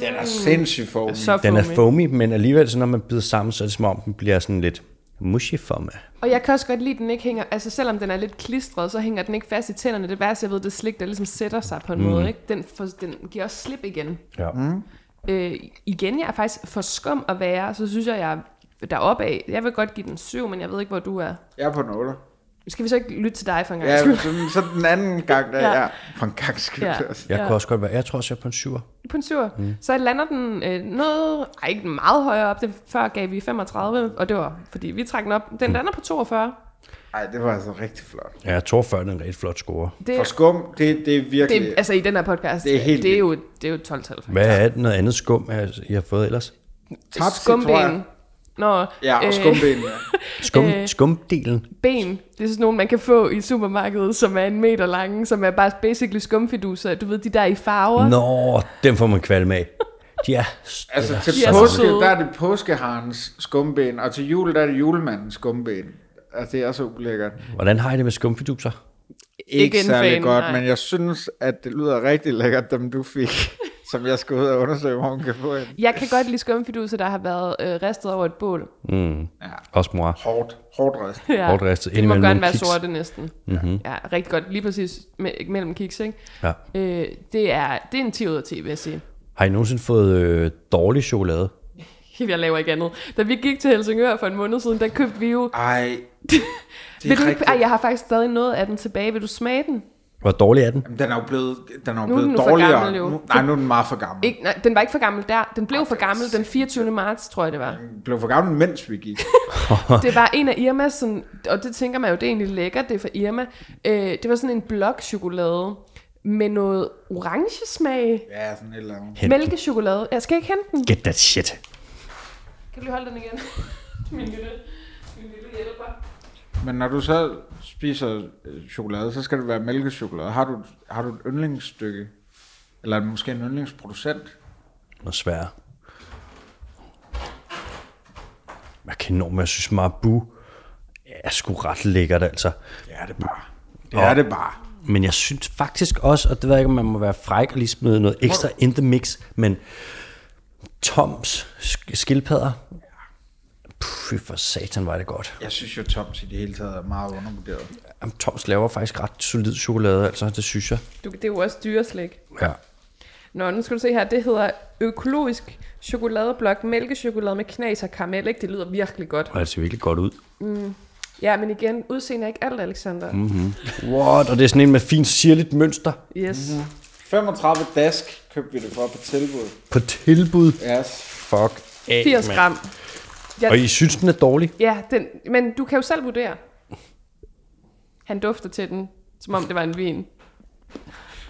Speaker 2: Den er sindssygt for
Speaker 1: Så
Speaker 3: Den er
Speaker 1: foamy.
Speaker 3: foamy, men alligevel, så når man bider sammen, så er det som om, den bliver sådan lidt mushy for mig.
Speaker 1: Og jeg kan også godt lide, at den ikke hænger, altså selvom den er lidt klistret, så hænger den ikke fast i tænderne. Det værste, jeg ved, det er slik, der ligesom sætter sig på en mm. måde. Ikke? Den, for, den giver også slip igen.
Speaker 3: Ja. Mm.
Speaker 1: Øh, igen, jeg er faktisk for skum at være, så synes jeg, jeg er deroppe af. Jeg vil godt give den syv, men jeg ved ikke, hvor du er.
Speaker 2: Jeg er på en 8.
Speaker 1: Skal vi så ikke lytte til dig for en gang?
Speaker 2: Ja, sådan, så den anden gang, der
Speaker 1: Ja.
Speaker 2: ja. er for en gang skyld.
Speaker 1: Ja.
Speaker 2: Ja. Også.
Speaker 3: Jeg ja. kunne også godt være, jeg tror også, jeg er på en syver.
Speaker 1: på en syver. Mm. Så lander den øh, noget, ej, ikke meget højere op. Den før gav vi 35, og det var, fordi vi trak den op.
Speaker 2: Mm.
Speaker 1: Den lander på 42.
Speaker 2: Ej, det var altså rigtig flot.
Speaker 3: Ja, jeg tror før, den er en rigtig flot score.
Speaker 1: Det,
Speaker 2: For skum, det, det er virkelig...
Speaker 1: det, altså i den her podcast,
Speaker 2: Det er helt
Speaker 1: det er jo, det er jo et 12-tal. faktisk.
Speaker 3: Hvad er det noget andet skum, jeg- I har fået ellers?
Speaker 2: Tapsi, tror jeg.
Speaker 1: Skumben. Nå, øh,
Speaker 2: Ja, og skumben. Ja.
Speaker 3: Skum, Skumdelen.
Speaker 1: ben, det er sådan nogle, man kan få i supermarkedet, som er en meter lange, som er bare basically skumfiduser. Du ved, de der i farver.
Speaker 3: Nå, den får man kvalme af. De er...
Speaker 2: Altså
Speaker 3: det er
Speaker 2: til
Speaker 1: Ja,
Speaker 3: så-
Speaker 1: pås-
Speaker 2: påske,
Speaker 1: søde.
Speaker 2: der er det påskeharens skumben, og til jul, der er det julemandens skumben. Altså, det er så ulækkert.
Speaker 3: Hvordan har I det med skumfiduser?
Speaker 1: Ikke
Speaker 2: Ikke,
Speaker 1: en
Speaker 2: ikke særlig
Speaker 1: fan,
Speaker 2: godt,
Speaker 1: nej.
Speaker 2: men jeg synes, at det lyder rigtig lækkert, dem du fik, som jeg skal ud og undersøge, hvor hun kan få en.
Speaker 1: Jeg kan godt lide skumfiduser, der har været øh, ristet over et bål.
Speaker 3: Også mor.
Speaker 2: Hårdt, hårdt rest.
Speaker 1: Ja.
Speaker 3: Hårdt
Speaker 1: De
Speaker 3: ristet.
Speaker 1: må
Speaker 3: Indimellem
Speaker 1: gerne
Speaker 3: nogle
Speaker 1: være
Speaker 3: kiks. Mhm.
Speaker 1: sorte næsten. Mm-hmm. Ja, rigtig godt. Lige præcis me- mellem kiks, ikke?
Speaker 3: Ja.
Speaker 1: Øh, det, er, det er en 10 ud af 10, vil jeg sige.
Speaker 3: Har I nogensinde fået øh, dårlig chokolade?
Speaker 1: Jeg laver ikke andet. Da vi gik til Helsingør for en måned siden, der købte vi
Speaker 3: Ah,
Speaker 1: jo...
Speaker 2: Ej, det
Speaker 1: Vil
Speaker 2: er
Speaker 1: du ikke,
Speaker 2: rigtigt.
Speaker 1: ej, jeg har faktisk stadig noget af den tilbage. Vil du smage den?
Speaker 3: Hvor dårlig er den?
Speaker 2: Jamen, den er jo blevet, den er jo
Speaker 1: Nu er
Speaker 2: blevet
Speaker 1: den jo for
Speaker 2: dårligere.
Speaker 1: gammel, jo.
Speaker 2: Nu, nej, nu er den meget for gammel. Ikke.
Speaker 1: Ikke, nej, den var ikke for gammel der. Den
Speaker 3: Ah,
Speaker 1: blev for gammel den 24. marts, tror jeg det var.
Speaker 2: Den blev for gammel, mens vi gik.
Speaker 1: Det var en af Irmas, sådan, og det tænker man jo, det er egentlig lækkert, det er fra Irma. Øh, det var sådan en blokchokolade med noget orange smag.
Speaker 2: Ja, sådan et eller andet.
Speaker 3: Hent.
Speaker 1: Mælkechokolade. Jeg skal ikke hente den.
Speaker 3: Get that shit.
Speaker 1: Kan du lige holde den igen? Min lille, min lille hjælper.
Speaker 2: Men når du så spiser øh, chokolade, så skal det være mælkechokolade. Har du, har du et yndlingsstykke? Eller måske en yndlingsproducent?
Speaker 3: Noget sværere. Jeg kan enormt, jeg synes Marabu er sgu ret lækkert, altså.
Speaker 2: Det er det bare. Det
Speaker 3: Nå.
Speaker 2: er det bare.
Speaker 3: Men jeg synes faktisk også, og det ved jeg ikke, om man må være fræk og lige smide noget ekstra in the mix, men Toms sk- skildpadder, Fy for satan, var det godt.
Speaker 2: Jeg synes jo, Toms i det hele taget er meget undervurderet.
Speaker 3: Jamen, Toms laver faktisk ret solid chokolade, altså, det synes jeg.
Speaker 1: Du, det er jo også dyreslik.
Speaker 3: Ja.
Speaker 1: Nå, nu skal du se her. Det hedder økologisk chokoladeblok mælkechokolade med knas og karamel. Ikke? Det lyder virkelig godt.
Speaker 3: Og det ser virkelig godt ud.
Speaker 1: Ja, men igen, udseende er ikke alt, Alexander. Mm.
Speaker 3: What? Og det er sådan en med fint sirligt mønster.
Speaker 1: Yes. Mm-hmm.
Speaker 2: 35 dask købte vi det for på tilbud.
Speaker 3: På tilbud.
Speaker 2: Yes.
Speaker 3: Fuck af,
Speaker 1: 80
Speaker 3: mand.
Speaker 1: gram.
Speaker 3: Og I synes, den er dårlig?
Speaker 1: Ja, den, men du kan jo selv vurdere. Han dufter til den, som om det var en vin.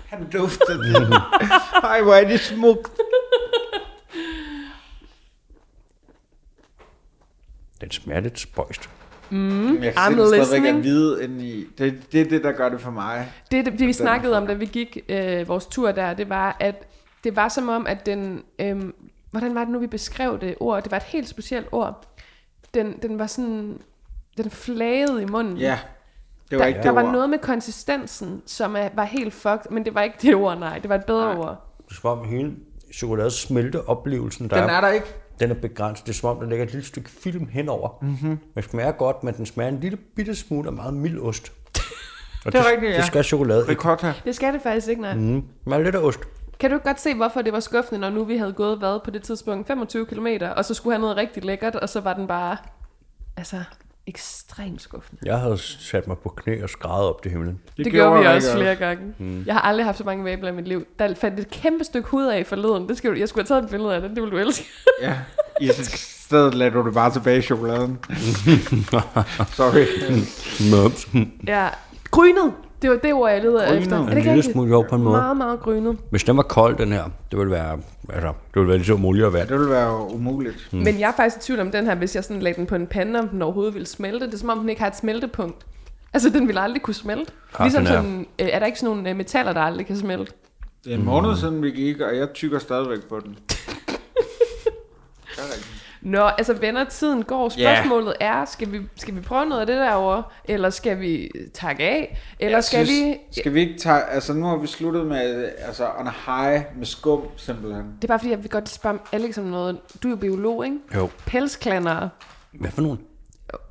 Speaker 2: Han duftede den. Ej, hvor er det smukt.
Speaker 3: Den smager lidt spøjst.
Speaker 2: Men jeg kan
Speaker 1: Mm. I'm
Speaker 2: se, den stadigvæk
Speaker 1: listening.
Speaker 2: er hvide inde i. Det, det er det, der gør det for mig.
Speaker 1: Det, det vi snakkede om, da vi gik øh, vores tur der, det var, at det var som om, at den... Øh, hvordan var det nu, vi beskrev det ord? Det var et helt specielt ord. Den, den var sådan... Den flagede i munden.
Speaker 2: Ja, det var
Speaker 1: Der,
Speaker 2: ikke
Speaker 1: der
Speaker 2: det
Speaker 1: var
Speaker 2: ord.
Speaker 1: noget med konsistensen, som er, var helt fucked, men det var ikke det ord, nej. Det var et bedre nej. ord.
Speaker 3: Det er som om hele chokolade smelte oplevelsen, der
Speaker 2: Den er der ikke.
Speaker 3: den er begrænset. Det er som om, der ligger et lille stykke film henover. Mm-hmm. Den smager godt, men den smager en lille bitte smule af meget mild ost. Og det
Speaker 2: er rigtigt, ja.
Speaker 3: Det skal chokolade ikke.
Speaker 2: Ricotta.
Speaker 1: Det skal det faktisk ikke, nej.
Speaker 3: Mm, meget lidt af ost.
Speaker 1: Kan du ikke godt se, hvorfor det var skuffende, når nu vi havde gået hvad på det tidspunkt 25 km, og så skulle have noget rigtig lækkert, og så var den bare, altså, ekstremt skuffende.
Speaker 3: Jeg havde sat mig på knæ og skræddet op til himlen.
Speaker 1: Det, det gjorde vi
Speaker 2: jeg
Speaker 1: også flere gange. Mm. Jeg har aldrig haft så mange vabler i mit liv. Der fandt et kæmpe stykke hud af forleden. Det skal du, jeg skulle have taget et billede af det, det ville du elske.
Speaker 2: Ja, i stedet lader du det bare tilbage i chokoladen. Sorry.
Speaker 3: Mums.
Speaker 1: ja. Grynet! Det var det ord, jeg leder
Speaker 2: Grynet.
Speaker 1: efter. Er det
Speaker 3: En
Speaker 1: ikke
Speaker 3: lille
Speaker 1: rigtigt?
Speaker 3: smule jo på en måde.
Speaker 1: Meget, meget grynet.
Speaker 3: Hvis den var kold, den her, det ville være, altså, det ville være lige så muligt at være.
Speaker 2: Det ville være jo umuligt.
Speaker 1: Mm. Men jeg er faktisk i tvivl om den her, hvis jeg sådan lagde den på en pande, om den overhovedet ville smelte. Det er som om, den ikke har et smeltepunkt. Altså, den ville aldrig kunne smelte.
Speaker 3: Ah,
Speaker 1: ligesom
Speaker 3: den er-
Speaker 1: sådan, øh, er der ikke sådan nogle øh, metaller, der aldrig kan smelte?
Speaker 2: Det er en måned siden, vi gik, og jeg tykker stadigvæk på den.
Speaker 1: Nå, altså venner, tiden går.
Speaker 2: Ja.
Speaker 1: Spørgsmålet er, skal vi, skal vi prøve noget af det derovre? Eller skal vi takke af? Eller
Speaker 2: Jeg
Speaker 1: skal
Speaker 2: synes,
Speaker 1: vi...
Speaker 2: Skal vi ikke tage... Altså, nu har vi sluttet med... Altså, on a high med skum, simpelthen.
Speaker 1: Det er bare fordi, jeg vil godt spørge Alex om noget. Du er jo biolog, ikke?
Speaker 3: Jo.
Speaker 1: Pelsklandere.
Speaker 3: Hvad for nogen?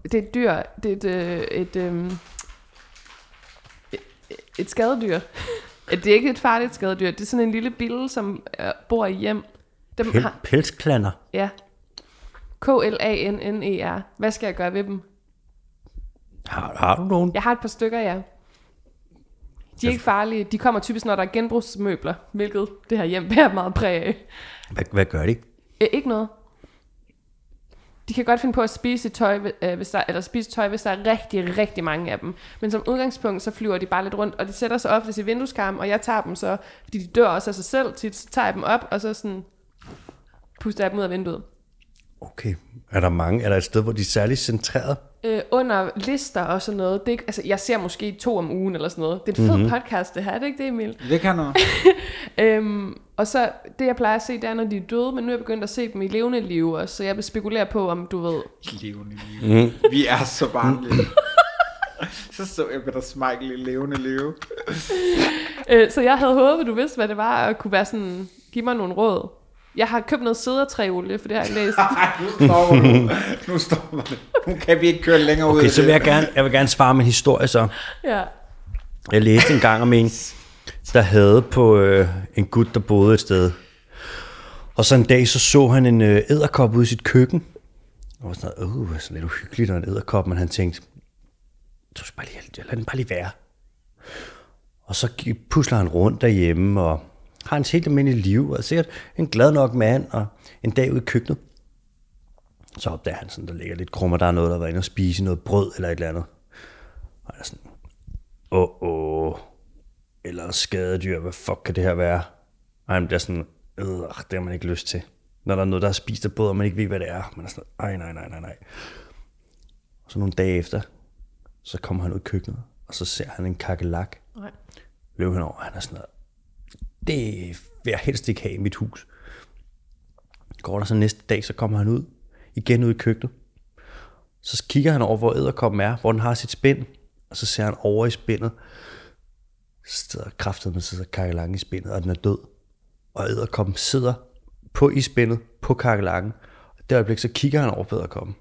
Speaker 1: Det er et dyr. Det er et, øh, et, øh, et skadedyr. Det er ikke et farligt skadedyr. Det er sådan en lille bille, som øh, bor i hjem. Dem har,
Speaker 3: Pel- pelsklanner.
Speaker 1: ja. K-L-A-N-N-E-R. E Hvad skal jeg gøre ved dem?
Speaker 3: Har, har du nogen?
Speaker 1: Jeg har et par stykker, ja. De er ikke farlige. De kommer typisk, når der er genbrugsmøbler, hvilket det her hjem bærer meget præg af.
Speaker 3: Hvad, hvad gør de?
Speaker 1: Øh, ikke noget. De kan godt finde på at spise tøj, øh, hvis der, eller spise tøj, hvis der er rigtig, rigtig mange af dem. Men som udgangspunkt, så flyver de bare lidt rundt, og de sætter sig oftest i vindueskarmen, og jeg tager dem så, fordi de dør også af sig selv tit, så tager jeg dem op, og så sådan puster jeg dem ud af vinduet.
Speaker 3: Okay. Er der mange? Er der et sted, hvor de er særligt centreret?
Speaker 1: øh, under lister og sådan noget. Det er, ikke- altså, jeg ser måske to om ugen eller sådan noget. Det er en fed mm-hmm. podcast, det her, er det ikke det, Emil?
Speaker 2: Det kan noget.
Speaker 1: Øhm, og så det, jeg plejer at se, det er, når de er døde, men nu er jeg begyndt at se dem i levende liv også, så jeg vil spekulere på, om du ved...
Speaker 2: levende liv. Mm. Vi er så barnlige. så så jeg Peter Smeichel i levende liv.
Speaker 1: Øh, så jeg havde håbet, du vidste, hvad det var, og kunne være sådan, give mig nogle råd. Jeg har købt noget sædertræolie, for det har jeg læst.
Speaker 2: Ej, nu stopper du. Nu stopper det. Nu kan vi ikke køre længere ud
Speaker 3: Okay,
Speaker 2: af
Speaker 3: så
Speaker 2: det.
Speaker 3: vil jeg gerne, jeg vil gerne svare med en historie så.
Speaker 1: ja.
Speaker 3: Jeg læste en gang om en, der havde på øh, en gut, der boede et sted. Og så en dag, så så han en øh, æderkop ude i sit køkken. Og var sådan, noget, øh, sådan lidt uhyggeligt, og en æderkop, men han tænkte, du skal bare lige, jeg lader den bare lige være. Og så gi- pusler han rundt derhjemme, og har hans helt almindelige liv, og er sikkert en glad nok mand, og en dag ude i køkkenet. Så opdager han sådan, der ligger lidt krummer, der er noget, der var inde og spise noget brød eller et eller andet. Og han er sådan, åh, oh, oh. eller skadedyr, hvad fuck kan det her være? Og han bliver sådan, øh, det har man ikke lyst til. Når der er noget, der er spist af brød, og man ikke ved, hvad det er. Man er sådan, ej, nej, nej, nej, nej. Og så nogle dage efter, så kommer han ud i køkkenet, og så ser han en kakelak.
Speaker 1: Nej.
Speaker 3: Løb han over, og han er sådan noget, det vil jeg helst ikke have i mit hus. Går der så næste dag, så kommer han ud, igen ud i køkkenet. Så kigger han over, hvor æderkoppen er, hvor den har sit spind, og så ser han over i spindet, så sidder kraftet med sidder kakkelangen i spindet, og den er død. Og æderkoppen sidder på i spindet på kakkelangen. Og det øjeblik, så kigger han over på æderkoppen.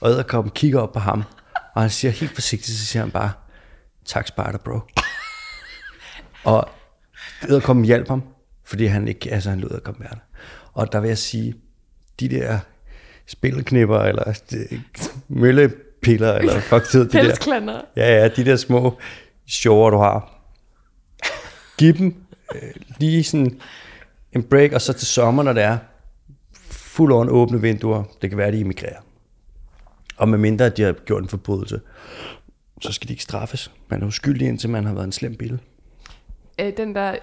Speaker 3: Og æderkoppen kigger op på ham, og han siger helt forsigtigt, så siger han bare, tak Sparta, bro. og æderkoppen hjalp ham, fordi han ikke, altså han lød at komme værd. Og der vil jeg sige, de der spilleknipper, eller de, møllepiller, eller fuck det, hedder, de der.
Speaker 1: Pelsklandere.
Speaker 3: Ja, ja, de der små shower, du har. Giv dem øh, lige sådan en break, og så til sommer, når det er fuld on åbne vinduer. Det kan være, de emigrerer. Og medmindre, at de har gjort en forbrydelse, så skal de ikke straffes. Man er uskyldig, indtil man har været en slem bille.
Speaker 1: Øh, den der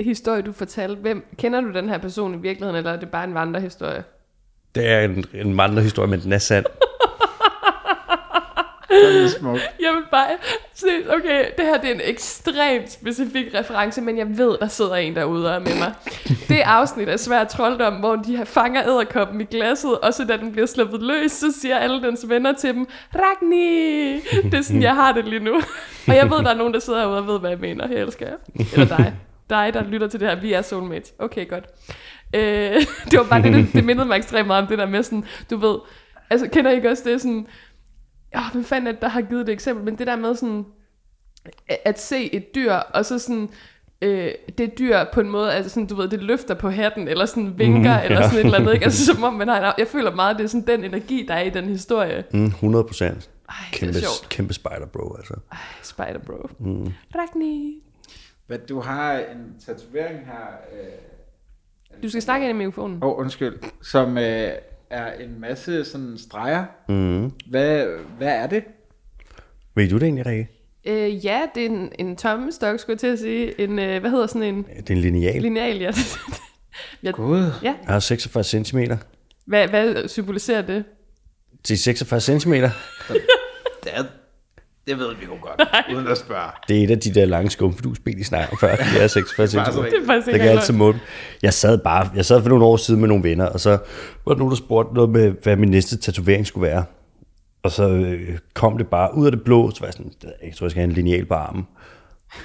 Speaker 1: historie, du fortalte, hvem, kender du den her person i virkeligheden, eller er det bare en vandrehistorie?
Speaker 3: Det er en, en vandrehistorie, men den er sand.
Speaker 2: Det er smukt.
Speaker 1: Jeg vil bare... Seriøst, okay, det her det er en ekstremt specifik reference, men jeg ved, der sidder en derude og er med mig. Det afsnit af Svær Trolddom, hvor de her fanger æderkoppen i glasset, og så da den bliver sluppet løs, så siger alle dens venner til dem, Ragni! Det er sådan, jeg har det lige nu. Og jeg ved, der er nogen, der sidder herude og ved, hvad jeg mener. Jeg elsker jer. Eller dig. Dig, der lytter til det her. Vi er soulmates. Okay, godt. Øh, det var bare det, det, det mindede mig ekstremt meget om det der med sådan, du ved, altså kender I ikke også det sådan, Ja, hvem fanden er det, der har givet det eksempel? Men det der med sådan, at- at se et dyr, og så sådan, øh, det dyr på en måde, altså sådan, du ved, det løfter på hatten, eller sådan vinker, mm, eller
Speaker 3: Mhm, ja.
Speaker 1: sådan et eller andet, ikke? Altså som om man har en, jeg føler meget, det er sådan den energi, der er i den historie.
Speaker 3: Mm, 100 procent.
Speaker 1: det er
Speaker 3: Kæmpe,
Speaker 1: sjovt.
Speaker 3: kæmpe spider, bro, altså.
Speaker 1: Spider bro. Mm. Ragni.
Speaker 2: Men du har en tatovering her. Åh, øh...
Speaker 1: Du skal snakke ind i mikrofonen.
Speaker 2: oh, undskyld. Som øh, er en masse sådan streger. Mm.
Speaker 3: Mm-hmm.
Speaker 2: Hvad, hvad er det?
Speaker 3: Ved du det egentlig, Rikke?
Speaker 1: Øh, ja, det er en, en tommestok, skulle jeg til at sige. En, øh, hvad hedder sådan en?
Speaker 3: Det er en lineal.
Speaker 1: Lineal, ja. ja.
Speaker 2: Gud.
Speaker 3: Jeg har 46 cm.
Speaker 1: Hvad, hvad symboliserer det?
Speaker 3: Til 46 cm.
Speaker 2: Det er, Det ved vi jo godt, uden at spørge.
Speaker 3: Det er et af de der lange skumfidusben, I snakker om før. Det er 46
Speaker 2: bare sådan
Speaker 1: Det er faktisk
Speaker 3: Det
Speaker 1: ikke
Speaker 3: kan jeg
Speaker 1: engang
Speaker 3: altid måle. Jeg sad bare, jeg sad for nogle år siden med nogle venner, og så var der nogen, der spurgte noget med, hvad min næste tatovering skulle være. Og så øh, kom det bare ud af det blå, så var jeg sådan, "Det ved jeg ikke, jeg tror, jeg skal have en lineal på armen.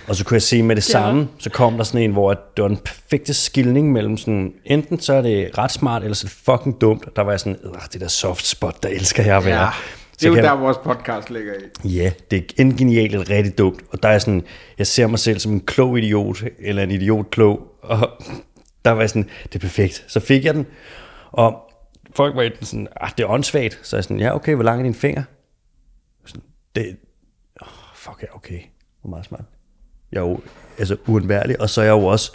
Speaker 3: Og så kunne jeg se med det samme, så kom der sådan en, hvor at det var den perfekte skilning mellem sådan, enten så er det ret smart, eller så er det fucking dumt. Og der var jeg sådan, "Ugh, det der soft spot, der elsker jeg at være.
Speaker 2: Ja, det
Speaker 3: Så
Speaker 2: er jo
Speaker 3: kan-
Speaker 2: der, vores podcast ligger i.
Speaker 3: Ja, det er enten genialt eller rigtig dumt. Og der er sådan, jeg ser mig selv som en klog idiot, eller en idiot klog. Og der var jeg sådan, det er perfekt. Så fik jeg den. Og folk var enten sådan, ah, det er åndssvagt. Så er jeg sådan, ja okay, hvor lang er din finger? Sådan, det, oh, fuck ja, okay. Hvor meget smart. Jeg er jo altså, uundværlig, og så er jeg jo også...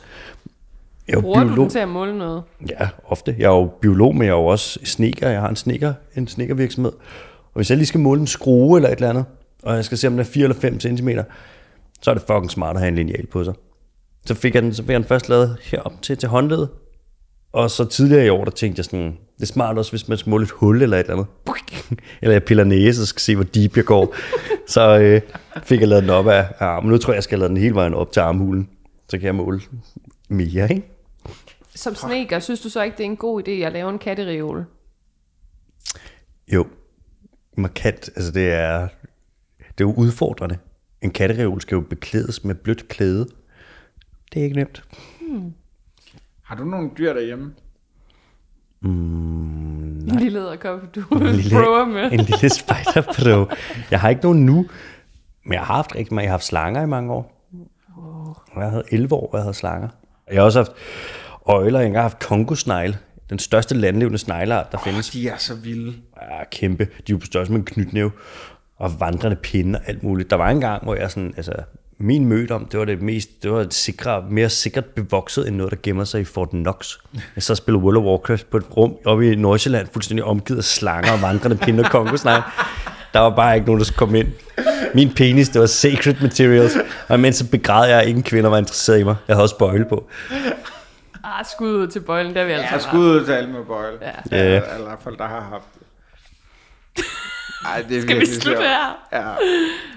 Speaker 3: Jeg er jo
Speaker 1: Bruger du
Speaker 3: biolog.
Speaker 1: den til at måle noget?
Speaker 3: Ja, ofte. Jeg er jo biolog, men jeg er jo også sneker. Jeg har en sneker, en snekervirksomhed. Og hvis jeg lige skal måle en skrue eller et eller andet, og jeg skal se, om den er 4 eller 5 cm, så er det fucking smart at have en lineal på sig. Så fik jeg den, så fik jeg den først lavet herop til, til håndledet. Og så tidligere i år, der tænkte jeg sådan, det er smart også, hvis man skal måle et hul eller et eller andet. Eller jeg piller næse, så skal se, hvor deep jeg går. Så øh, fik jeg lavet den op af armen. Nu tror jeg, jeg skal have lavet den hele vejen op til armhulen. Så kan jeg måle mere, ikke?
Speaker 1: Som sneker, synes du så ikke, det er en god idé at lave en kattereol?
Speaker 3: Jo, markant. Altså det er, det er jo udfordrende. En kattereol skal jo beklædes med blødt klæde. Det er ikke nemt.
Speaker 2: Har du nogle dyr derhjemme?
Speaker 1: En lille æderkop, du
Speaker 3: En
Speaker 1: prøver med.
Speaker 3: en lille spiderbro. Jeg har ikke nogen nu, men jeg har haft rigtig mange. Jeg har haft slanger i mange år. Jeg havde 11 år, hvor jeg havde slanger. Jeg har også haft øjler. Jeg har engang haft kongosnegle. Den største landlevende snegleart, der findes.
Speaker 2: De er så vilde.
Speaker 3: er Ah, kæmpe. De er jo på størrelse med en knytnæve og vandrende pinde og alt muligt. Der var en gang, hvor jeg sådan, altså, min mødom, det var det mest, det var et sikre, mere sikkert bevokset end noget, der gemmer sig i Fort Knox. Jeg så spillede World of Warcraft på et rum oppe i Nordsjælland, fuldstændig omgivet af slanger og vandrende pinde og kongosnegle. Der var bare ikke nogen, der skulle komme ind. Min penis, det var sacred materials. Og imens så begræd jeg, at ingen kvinder var interesseret i mig. Jeg havde også bøjle på.
Speaker 1: Ah, skud ud til bøjlen, der vil jeg
Speaker 2: Jeg
Speaker 1: altså
Speaker 2: har
Speaker 1: bare-
Speaker 2: skud ud til Alma Boyle. Ja.
Speaker 3: Ja.
Speaker 2: Eller, eller folk, der har haft det. Ej, det er
Speaker 1: Skal vi
Speaker 2: virkelig
Speaker 1: slutte
Speaker 2: sjovt.
Speaker 1: her?
Speaker 2: Ja.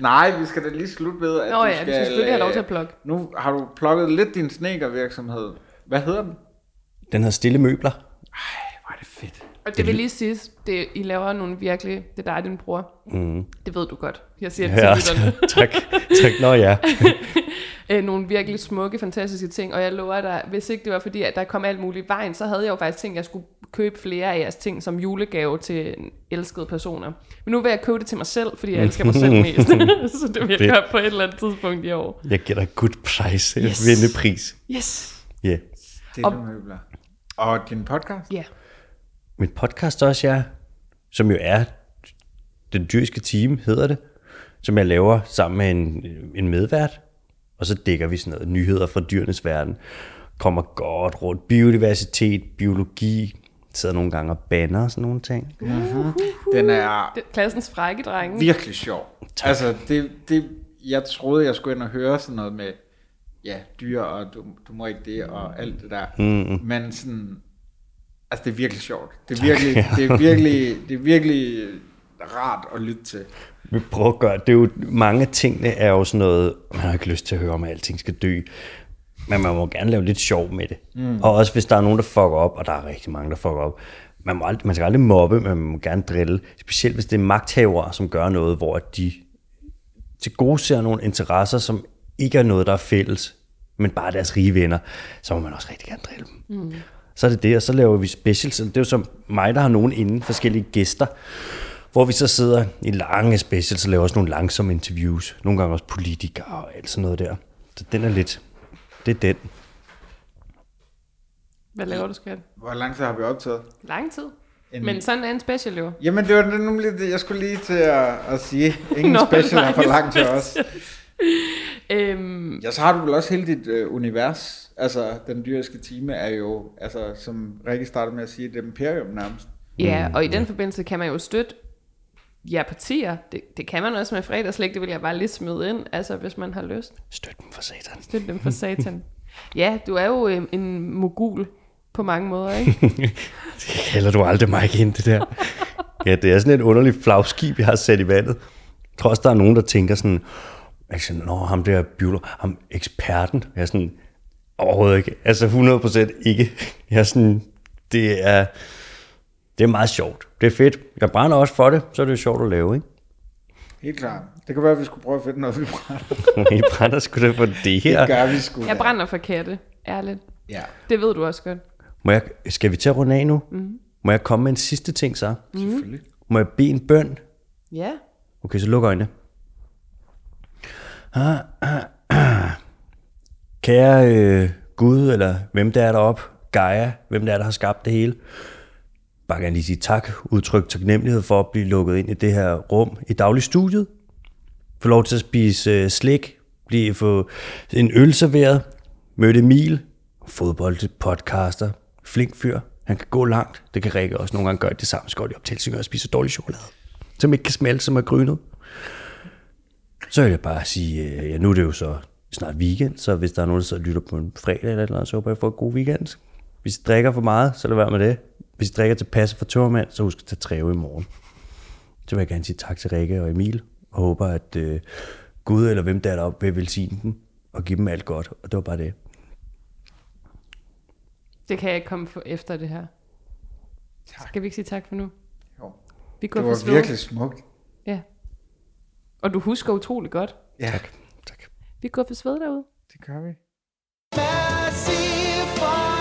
Speaker 2: Nej, vi skal da lige slutte ved, at
Speaker 1: Nå
Speaker 2: du
Speaker 1: ja, vi skal selvfølgelig have lov til at plukke.
Speaker 2: øh, Nu har du plukket lidt din snekervirksomhed. Hvad hedder den?
Speaker 3: Den havde stille møbler.
Speaker 2: Hvor er det fedt.
Speaker 1: Og det vil lige sige, det, I laver nogle virkelig, det er dig og din bror. Mm. Det ved du godt. Jeg siger det til lytterne.
Speaker 3: tak. tak. Nå ja.
Speaker 1: øh, nogle virkelig smukke, fantastiske ting, og jeg lover dig, hvis ikke det var fordi, at der kom alt muligt i vejen, så havde jeg jo faktisk tænkt, at jeg skulle købe flere af jeres ting som julegave til elskede personer. Men nu vil jeg købe det til mig selv, fordi jeg elsker mig selv mest. så det vil jeg
Speaker 3: Fedt.
Speaker 1: gøre på et eller andet tidspunkt i år.
Speaker 3: Jeg giver dig good price.
Speaker 1: Yes.
Speaker 3: Yes. Vindepris.
Speaker 1: Yes!
Speaker 3: Ja. Yeah.
Speaker 2: Det er møbler. Og din podcast?
Speaker 1: Ja.
Speaker 3: Mit podcast også, ja, som jo er Den Dyriske Time, hedder det, som jeg laver sammen med en, øh, en medvært. Og så dækker vi sådan noget nyheder fra dyrenes verden. Kommer godt rundt. Biodiversitet, biologi, sidder nogle gange og banner og sådan nogle ting.
Speaker 2: Den er
Speaker 1: Det, klassens frække drenge.
Speaker 2: virkelig sjov. Tak. Altså, det, det, jeg troede, jeg skulle ind og høre sådan noget med, ja, dyr, og du, du må ikke det, og alt det der. Mm. Men sådan, altså, det er virkelig sjovt. Det er virkelig, det er virkelig, det er virkelig rart at lytte til.
Speaker 3: Vi prøver at gøre, det er jo, mange af tingene er jo sådan noget, man har ikke lyst til at høre om, at alting skal dø. Men man må gerne lave lidt sjov med det. Mm. Og også hvis der er nogen, der fucker op, og der er rigtig mange, der fucker op. Man, må aldrig, man skal aldrig mobbe, men man må gerne drille. Specielt hvis det er magthavere, som gør noget, hvor de til gode ser nogle interesser, som ikke er noget, der er fælles, men bare deres rige venner, så må man også rigtig gerne drille dem. Mm. Så er det det, og så laver vi specials. Det er jo som mig, der har nogen inden, forskellige gæster, hvor vi så sidder i lange specials og laver også nogle langsomme interviews. Nogle gange også politikere og alt sådan noget der. Så den er lidt... Det er den.
Speaker 1: Hvad laver du, skat?
Speaker 2: Hvor lang tid har vi optaget?
Speaker 1: Lang tid.
Speaker 2: En-
Speaker 1: Men sådan er en special jo.
Speaker 2: Jamen, det var det nemlig, det, jeg skulle lige til at, at sige. Ingen
Speaker 1: Nå,
Speaker 2: special
Speaker 1: nej,
Speaker 2: er for langt til os.
Speaker 1: Øhm,
Speaker 2: Ja, så har du vel også hele dit øh, univers. Altså, den dyriske time er jo, altså, som Rikke startede med at sige, et imperium nærmest.
Speaker 1: ja, og i den forbindelse kan man jo støtte ja, partier. Det, det kan man også med fredagslæg, det vil jeg bare lige smide ind, altså hvis man har lyst.
Speaker 3: Støt dem for satan.
Speaker 1: Støt dem for satan. Ja, du er jo øh, en mogul på mange måder, ikke?
Speaker 3: Det kalder du aldrig mig igen, det der. Ja, det er sådan et underligt flagskib, jeg har sat i vandet. Jeg tror også, der er nogen, der tænker sådan, altså, nå, ham der biolog, ham eksperten. Jeg er sådan, overhovedet ikke. Altså 100% ikke. Jeg er sådan, det er, det er meget sjovt. Det er fedt. Jeg brænder også for det, så er det jo sjovt at lave, ikke?
Speaker 2: Helt klart. Det kan være, at vi skulle prøve at finde noget, vi brænder.
Speaker 3: I brænder sgu da for det
Speaker 2: Det
Speaker 3: her.
Speaker 2: gør vi sgu.
Speaker 1: Jeg
Speaker 2: da.
Speaker 1: brænder for katte, ærligt.
Speaker 2: Ja.
Speaker 1: Det ved du også godt.
Speaker 3: Må jeg, skal vi til at runde af nu? Mm. Må jeg komme med en sidste ting så? Selvfølgelig. Må jeg bede en bøn?
Speaker 1: Ja.
Speaker 3: Okay, så luk øjnene. Ah, ah, ah. Kære øh, Gud, eller hvem der er deroppe, Gaia, hvem der er, der har skabt det hele, bare gerne lige sige tak, udtryk taknemmelighed for at blive lukket ind i det her rum i dagligstudiet, få lov til at spise øh, slik, blive få en øl serveret, mødte Emil, fodboldpodcaster, flink fyr, han kan gå langt, det kan Rikke også nogle gange gøre det samme, så går de op til og spiser dårlig chokolade, som ikke kan smelte, som er grynet. Så vil jeg bare sige, øh, ja nu er det jo så snart weekend, så hvis der er nogen, der sidder og lytter på en fredag eller noget, så håber jeg, I får en god weekend. Hvis I drikker for meget, så lad være med det. Hvis I drikker tilpas for tørmand, så husk at tage træve i morgen. Så vil jeg gerne sige tak til Rikke og Emil, og håber, at øh, Gud eller hvem der er deroppe vil velsigne dem, og give dem alt godt. Og det var bare det.
Speaker 1: Det kan jeg ikke komme for efter det her. Tak. Skal vi ikke sige tak for nu?
Speaker 2: Jo.
Speaker 1: Vi går
Speaker 2: Det
Speaker 1: for
Speaker 2: var
Speaker 1: sved.
Speaker 2: virkelig smukt.
Speaker 1: Ja. Og du husker utrolig godt.
Speaker 2: Ja,
Speaker 3: Tak.
Speaker 1: Vi går for sved derude.
Speaker 2: det gør vi.
Speaker 7: Massive